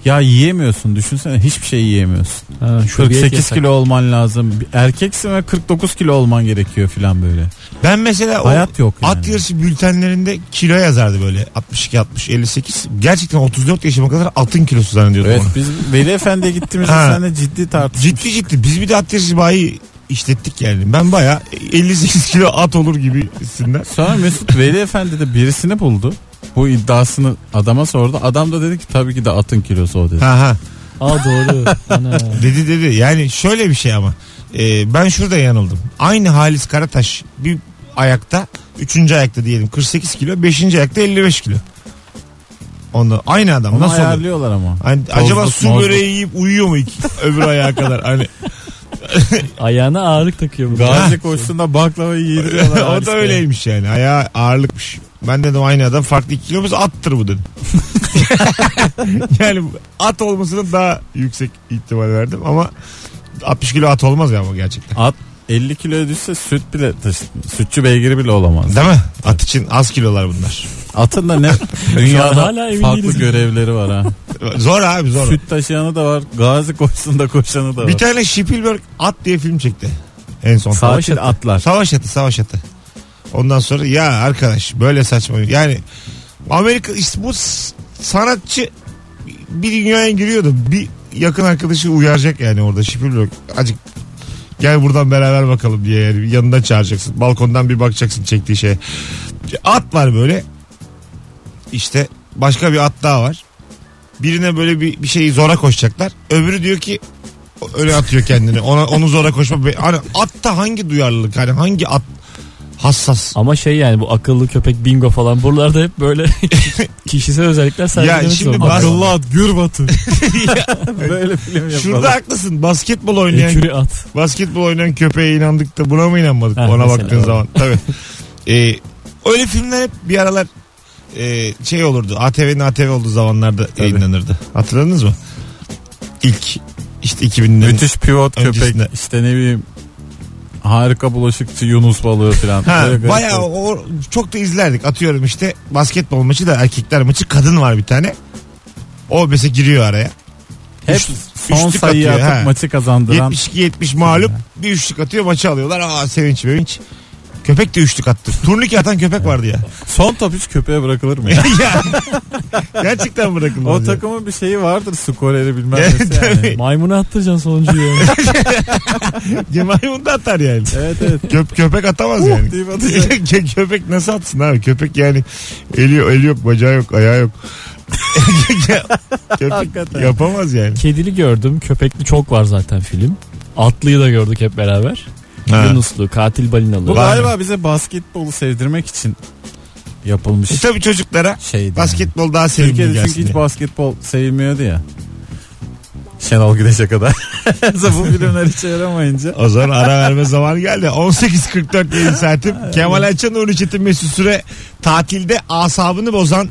Speaker 4: ya yiyemiyorsun düşünsene hiçbir şey yiyemiyorsun.
Speaker 3: Ha, şu
Speaker 4: 48 kilo olman lazım. Bir Erkeksin ve 49 kilo olman gerekiyor filan böyle.
Speaker 2: Ben mesela o
Speaker 4: Hayat yok yani.
Speaker 2: at yarışı bültenlerinde kilo yazardı böyle 62 60 58. Gerçekten 34 yaşıma kadar atın kilosu zannediyordum
Speaker 4: Evet
Speaker 2: onu.
Speaker 4: biz Veli Efendi'ye gittiğimizde
Speaker 2: Ha.
Speaker 4: seninle ciddi tartıştık.
Speaker 2: Ciddi ciddi biz bir de at yarışı bayi işlettik yani. Ben baya 58 kilo at olur gibisinden.
Speaker 4: Sonra Mesut Veli Efendi de birisini buldu. Bu iddiasını adama sordu. Adam da dedi ki tabii ki de atın kilosu o dedi.
Speaker 2: Ha ha.
Speaker 3: Aa doğru. Ana.
Speaker 2: Dedi dedi. Yani şöyle bir şey ama. Ee, ben şurada yanıldım. Aynı Halis Karataş bir ayakta, üçüncü ayakta diyelim 48 kilo, beşinci ayakta 55 kilo. Onu aynı adam.
Speaker 4: Onu
Speaker 2: Nasıl olur?
Speaker 4: ayarlıyorlar ama.
Speaker 2: Hani
Speaker 4: Tozluk,
Speaker 2: acaba su
Speaker 4: mozluk.
Speaker 2: böreği yiyip uyuyor mu iki, öbür ayağa kadar? Hani
Speaker 3: Ayağına ağırlık takıyor bu.
Speaker 4: Gazi koşusunda baklava yediriyorlar.
Speaker 2: o da öyleymiş yani. Ayağı ağırlıkmış. Ben dedim aynı adam farklı iki kilomuz attır bu dedim. yani at olmasına daha yüksek ihtimal verdim ama 60 kilo at olmaz ya ama gerçekten.
Speaker 4: At 50 kilo düşse süt bile taşı- sütçü beygiri bile olamaz.
Speaker 2: Değil mi? At için az kilolar bunlar.
Speaker 4: Atın da ne
Speaker 3: Şu an
Speaker 4: dünyada
Speaker 3: hala emin
Speaker 4: farklı
Speaker 3: değiliz.
Speaker 4: görevleri var ha.
Speaker 2: Zor abi zor.
Speaker 4: Süt taşıyanı da var. Gazi koşusunda koşanı da var.
Speaker 2: Bir tane Spielberg at diye film çekti. En son.
Speaker 4: Sakin atlar.
Speaker 2: Savaş atı savaş atı. Ondan sonra ya arkadaş böyle saçma. Yani Amerika işte bu s- sanatçı bir dünyaya giriyordu. Bir yakın arkadaşı uyaracak yani orada. Spielberg acık gel buradan beraber bakalım diye yani yanından çağıracaksın. Balkondan bir bakacaksın çektiği şeye. At var böyle. İşte başka bir at daha var. Birine böyle bir, bir şeyi zora koşacaklar. Öbürü diyor ki öyle atıyor kendini. Ona onu zora koşma. Be- Hani atta hangi duyarlılık? Hani hangi at hassas?
Speaker 3: Ama şey yani bu akıllı köpek bingo falan buralarda hep böyle kişisel özellikler sergilemek
Speaker 2: şimdi
Speaker 3: zorunda.
Speaker 2: bas-
Speaker 4: Akıllı at gür batı. Böyle film yapalım.
Speaker 2: Şurada haklısın. Basketbol oynayan
Speaker 3: Ekürü at.
Speaker 2: basketbol oynayan köpeğe inandık da buna mı inanmadık?
Speaker 3: Ha,
Speaker 2: Ona
Speaker 3: mesela
Speaker 2: baktığın
Speaker 3: o.
Speaker 2: zaman. Tabii. Ee, öyle filmler hep bir aralar e, şey olurdu. ATV'nin ATV olduğu zamanlarda yayınlanırdı. Hatırladınız mı? İlk işte 2000'lerin
Speaker 4: Müthiş pivot
Speaker 2: Öncesinde.
Speaker 4: köpek işte ne bileyim harika bulaşıkçı Yunus balığı falan.
Speaker 2: Ha,
Speaker 4: Böyle garip
Speaker 2: bayağı
Speaker 4: garip.
Speaker 2: o, çok da izlerdik. Atıyorum işte basketbol maçı da erkekler maçı kadın var bir tane. O mesela giriyor araya.
Speaker 4: Hep
Speaker 2: Üç-
Speaker 4: son
Speaker 2: üçlük
Speaker 4: sayıyı
Speaker 2: atıyor,
Speaker 4: atıp
Speaker 2: ha.
Speaker 4: maçı kazandıran
Speaker 2: 72-70 mağlup bir üçlük atıyor maçı alıyorlar. Aa sevinç sevinç. Köpek de üçlük attı. Turnike atan köpek vardı ya.
Speaker 4: son top hiç köpeğe bırakılır mı ya?
Speaker 2: Ya, Gerçekten bırakılmaz.
Speaker 4: o
Speaker 2: ya.
Speaker 4: takımın bir şeyi vardır skoreri bilmem
Speaker 2: Evet,
Speaker 4: nesi yani.
Speaker 2: tabii.
Speaker 3: Maymuna attıracaksın sonuncuyu. yani.
Speaker 2: Cemal bunu da atar yani.
Speaker 4: evet evet.
Speaker 2: Köp, köpek atamaz
Speaker 4: Uh
Speaker 2: yani.
Speaker 4: deyip atacak.
Speaker 2: Kö- köpek nasıl atsın abi? Köpek yani eli, eli yok, bacağı yok, ayağı yok. köpek
Speaker 4: Hakikaten.
Speaker 2: yapamaz yani.
Speaker 3: Kedili gördüm. Köpekli çok var zaten film. Atlıyı da gördük hep beraber.
Speaker 2: Ha.
Speaker 3: Yunuslu, katil balinalı.
Speaker 4: Bu
Speaker 2: Var
Speaker 4: galiba bize basketbolu sevdirmek için yapılmış
Speaker 2: E tabii çocuklara
Speaker 4: şeydi.
Speaker 2: basketbol daha
Speaker 4: yani.
Speaker 2: sevimli
Speaker 4: Türkiye'de çünkü
Speaker 2: gelsin.
Speaker 4: hiç
Speaker 2: diye.
Speaker 4: basketbol sevmiyordu ya. Şenol Güneş'e kadar. Bu filmler hiç yaramayınca.
Speaker 2: O zaman ara verme zamanı geldi. 18.44 yayın saatim. Kemal Ayça'nın Nuri Çetin Mesut Süre tatilde asabını bozan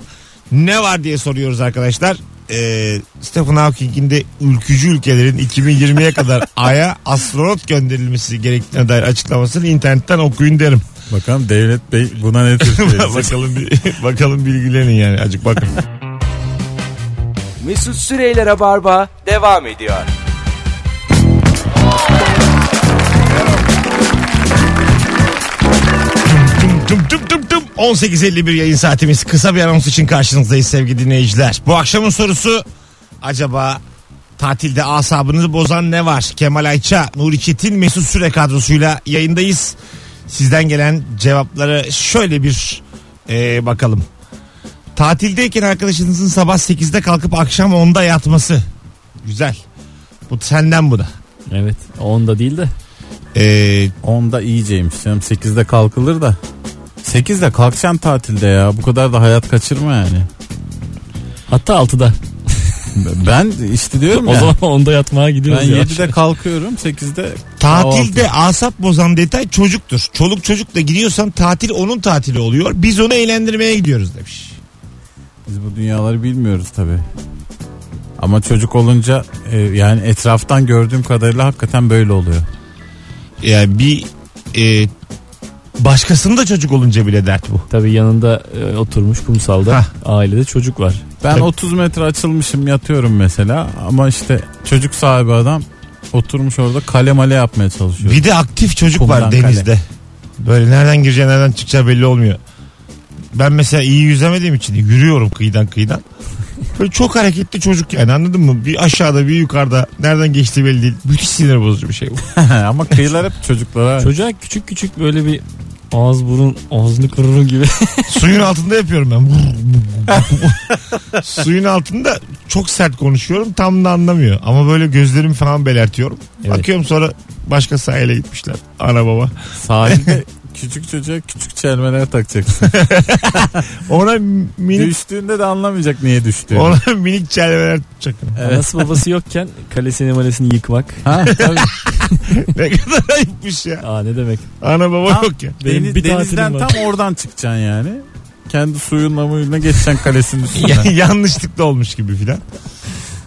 Speaker 2: ne var diye soruyoruz arkadaşlar. Ee, Stephen Hawking'in de ülkücü ülkelerin 2020'ye kadar Ay'a astronot gönderilmesi gerektiğine dair açıklamasını internetten okuyun derim.
Speaker 4: Bakalım Devlet Bey buna ne tür şey?
Speaker 2: bakalım bir- bakalım bilgilerin yani acık bakın.
Speaker 1: Mesut Süreyler'e barba devam ediyor.
Speaker 2: Tüm tüm tüm tüm tüm. 18.51 yayın saatimiz. Kısa bir anons için karşınızdayız sevgili dinleyiciler. Bu akşamın sorusu acaba tatilde asabınızı bozan ne var? Kemal Ayça, Nuri Çetin, Mesut Süre kadrosuyla yayındayız. Sizden gelen cevapları şöyle bir e, bakalım. Tatildeyken arkadaşınızın sabah 8'de kalkıp akşam 10'da yatması. Güzel. Bu senden bu da.
Speaker 3: Evet. Onda değil de.
Speaker 2: E,
Speaker 4: Ee, Onda iyiceymiş canım. 8'de kalkılır da. 8'de kalkacaksın tatilde ya. Bu kadar da hayat kaçırma yani.
Speaker 3: Hatta 6'da.
Speaker 4: Ben işte diyorum
Speaker 3: O
Speaker 4: ya.
Speaker 3: zaman onda yatmaya
Speaker 4: ben
Speaker 3: gidiyoruz ya.
Speaker 4: 7'de kalkıyorum 8'de
Speaker 2: Tatilde asap bozan detay çocuktur. Çoluk çocukla gidiyorsan tatil onun tatili oluyor. Biz onu eğlendirmeye gidiyoruz demiş.
Speaker 4: Biz bu dünyaları bilmiyoruz tabi. Ama çocuk olunca e, yani etraftan gördüğüm kadarıyla hakikaten böyle oluyor.
Speaker 2: Yani bir e, başkasında çocuk olunca bile dert bu.
Speaker 3: Tabii yanında e, oturmuş kumsalda
Speaker 2: Hah.
Speaker 3: ailede çocuk var.
Speaker 4: Ben
Speaker 2: Tabii.
Speaker 4: 30 metre açılmışım yatıyorum mesela ama işte çocuk sahibi adam oturmuş orada kale male yapmaya çalışıyor.
Speaker 2: Bir de aktif çocuk var
Speaker 4: Kumdan kale.
Speaker 2: denizde. Böyle nereden gireceği nereden çıkacağı belli olmuyor. Ben mesela iyi yüzemediğim için yürüyorum kıyıdan kıyıdan. Böyle çok hareketli çocuk yani anladın mı? Bir aşağıda bir yukarıda nereden geçtiği belli değil. Müthiş sinir bozucu bir şey bu.
Speaker 4: ama kıyılar hep çocuklara.
Speaker 3: Çocuğa küçük küçük böyle bir ağız burun ağzını kırırım gibi.
Speaker 2: Suyun altında yapıyorum ben. Suyun altında çok sert konuşuyorum tam da anlamıyor. Ama böyle gözlerimi falan belertiyorum.
Speaker 3: Evet.
Speaker 2: Bakıyorum sonra başka sahile gitmişler. Ana baba.
Speaker 4: Sahilde küçük çocuğa küçük çelmeler takacaksın.
Speaker 2: Ona minik,
Speaker 4: Düştüğünde de anlamayacak niye düştüğünü.
Speaker 2: ona minik çelmeler tutacak.
Speaker 3: Anası babası yokken kalesini malesini yıkmak.
Speaker 4: Ha, tabii.
Speaker 2: ne kadar ayıpmış ya.
Speaker 3: Aa ne demek.
Speaker 2: Ana baba
Speaker 4: Tam
Speaker 2: yok ya.
Speaker 3: Benim
Speaker 4: Deniz-
Speaker 3: bir tatilim
Speaker 4: denizden
Speaker 3: var.
Speaker 4: tam oradan çıkacaksın yani. Kendi suyunla muyunla geçeceksin kalesinin üstünden.
Speaker 2: Ya- Yanlışlıkla olmuş gibi filan.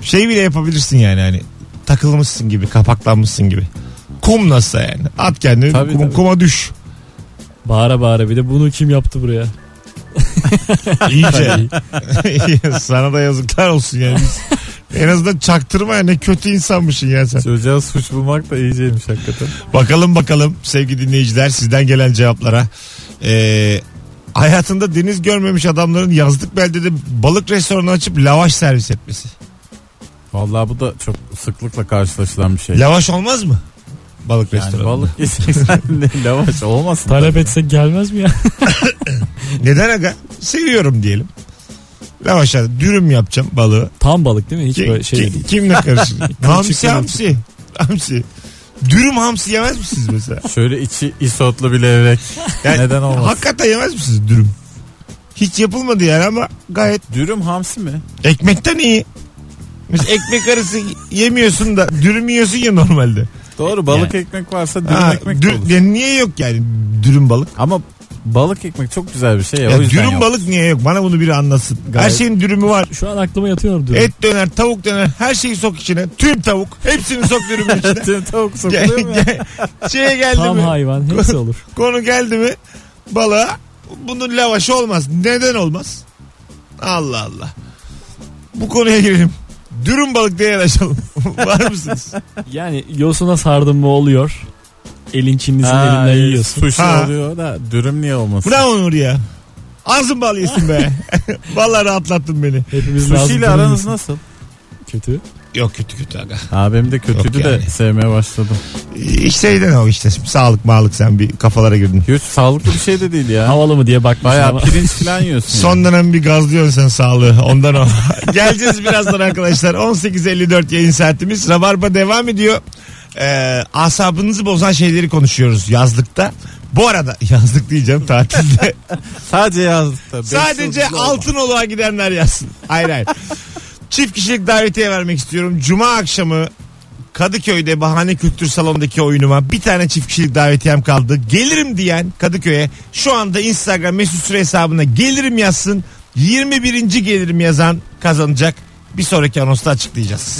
Speaker 2: Şey bile yapabilirsin yani hani takılmışsın gibi kapaklanmışsın gibi. Kum nasıl yani? At kendini
Speaker 4: Tabii,
Speaker 2: kum-
Speaker 4: tabii.
Speaker 2: kuma düş.
Speaker 3: Bağıra bağıra bir de bunu kim yaptı buraya?
Speaker 2: İyice. Sana da yazıklar olsun yani. Biz- en azından çaktırma ya ne kötü insanmışsın ya sen.
Speaker 4: Çocuğa suç bulmak da iyiceymiş hakikaten.
Speaker 2: Bakalım bakalım sevgili dinleyiciler sizden gelen cevaplara. Ee, hayatında deniz görmemiş adamların yazlık beldede balık restoranı açıp lavaş servis etmesi.
Speaker 4: Vallahi bu da çok sıklıkla karşılaşılan bir şey.
Speaker 2: Lavaş olmaz mı? Balık
Speaker 4: yani
Speaker 2: restoranı.
Speaker 4: balık yiyeceksen de lavaş olmasın.
Speaker 3: Talep etsek gelmez mi ya?
Speaker 2: Neden aga? Seviyorum diyelim. Lavaşa dürüm yapacağım balığı.
Speaker 3: Tam balık değil mi? Hiç
Speaker 2: Ki-
Speaker 3: böyle şey
Speaker 2: ki-
Speaker 3: değil.
Speaker 2: kimle karışır? hamsi
Speaker 3: Kılçıklı
Speaker 2: hamsi. Hamsi. Dürüm hamsi yemez misiniz mesela?
Speaker 4: Şöyle içi isotlu bir levrek.
Speaker 2: Yani
Speaker 4: Neden olmasın?
Speaker 2: Hakikaten yemez misiniz dürüm? Hiç yapılmadı yani ama gayet
Speaker 4: Dürüm hamsi mi?
Speaker 2: ekmekten iyi. Mesela ekmek arası yemiyorsun da dürüm yiyorsun ya normalde.
Speaker 4: Doğru balık ekmek varsa dürüm
Speaker 2: Ha,
Speaker 4: ekmek de
Speaker 2: dür-
Speaker 4: olur.
Speaker 2: yani niye yok yani dürüm balık?
Speaker 4: Ama balık ekmek çok güzel bir şey ya.
Speaker 2: Ya
Speaker 4: o yüzden
Speaker 2: dürüm
Speaker 4: yok.
Speaker 2: balık niye yok? Bana bunu biri anlatsın. Her
Speaker 3: Gayet-
Speaker 2: şeyin dürümü var.
Speaker 3: Şu an aklıma yatıyor diyorum.
Speaker 2: Et döner, tavuk döner, her şeyi sok içine. Tüm tavuk, hepsini sok dürümün içine.
Speaker 4: Tüm tavuk
Speaker 2: Gel-
Speaker 4: sokuluyor mu ya?
Speaker 2: gel- şeye geldi
Speaker 3: Tam
Speaker 2: mi?
Speaker 3: hayvan hepsi olur.
Speaker 2: Konu geldi mi? Balığa bunun lavaşı olmaz. Neden olmaz? Allah Allah. Bu konuya girelim. Dürüm balık diye yanaşalım. Var mısınız?
Speaker 3: Yani yosuna sardım mı oluyor. Elin Çinlisinin
Speaker 4: Ha,
Speaker 3: elinden
Speaker 4: e,
Speaker 3: yiyorsun.
Speaker 4: Sushi
Speaker 2: Ha.
Speaker 4: oluyor da dürüm niye olmasın?
Speaker 2: Bravo Nur ya. Ağzın bal yesin be. Vallahi rahatlattın beni.
Speaker 3: Hepimiz
Speaker 4: Sushi
Speaker 3: lazım.
Speaker 4: ile aranız nasıl?
Speaker 3: Kötü.
Speaker 2: Yok kötü kötü aga.
Speaker 4: Ha benim de kötüydü
Speaker 2: Yok
Speaker 4: de
Speaker 2: yani.
Speaker 4: sevmeye başladım.
Speaker 2: İşteyden o işte. Şimdi sağlık mağlık sen bir kafalara girdin.
Speaker 4: Hiç sağlıklı bir şey de değil ya.
Speaker 3: Havalı mı diye bakmışsın
Speaker 4: Bayağı
Speaker 3: ama.
Speaker 4: pirinç falan yiyorsun. yani.
Speaker 2: Son dönem bir gazlıyorsun sen sağlığı. Ondan o. Geleceğiz birazdan arkadaşlar. 18.54 yayın saatimiz. Rabarba devam ediyor. Ee, asabınızı bozan şeyleri konuşuyoruz yazlıkta. Bu arada yazlık diyeceğim tatilde.
Speaker 4: Sadece yazdık tabii.
Speaker 2: Sadece Altınoluk'a gidenler yazsın. Hayır hayır. Çift kişilik davetiye vermek istiyorum. Cuma akşamı Kadıköy'de Bahane Kültür Salonu'ndaki oyunuma bir tane çift kişilik davetiyem kaldı. Gelirim diyen Kadıköy'e şu anda Instagram mesut süre hesabına gelirim yazsın. 21. gelirim yazan kazanacak. Bir sonraki anonsta açıklayacağız.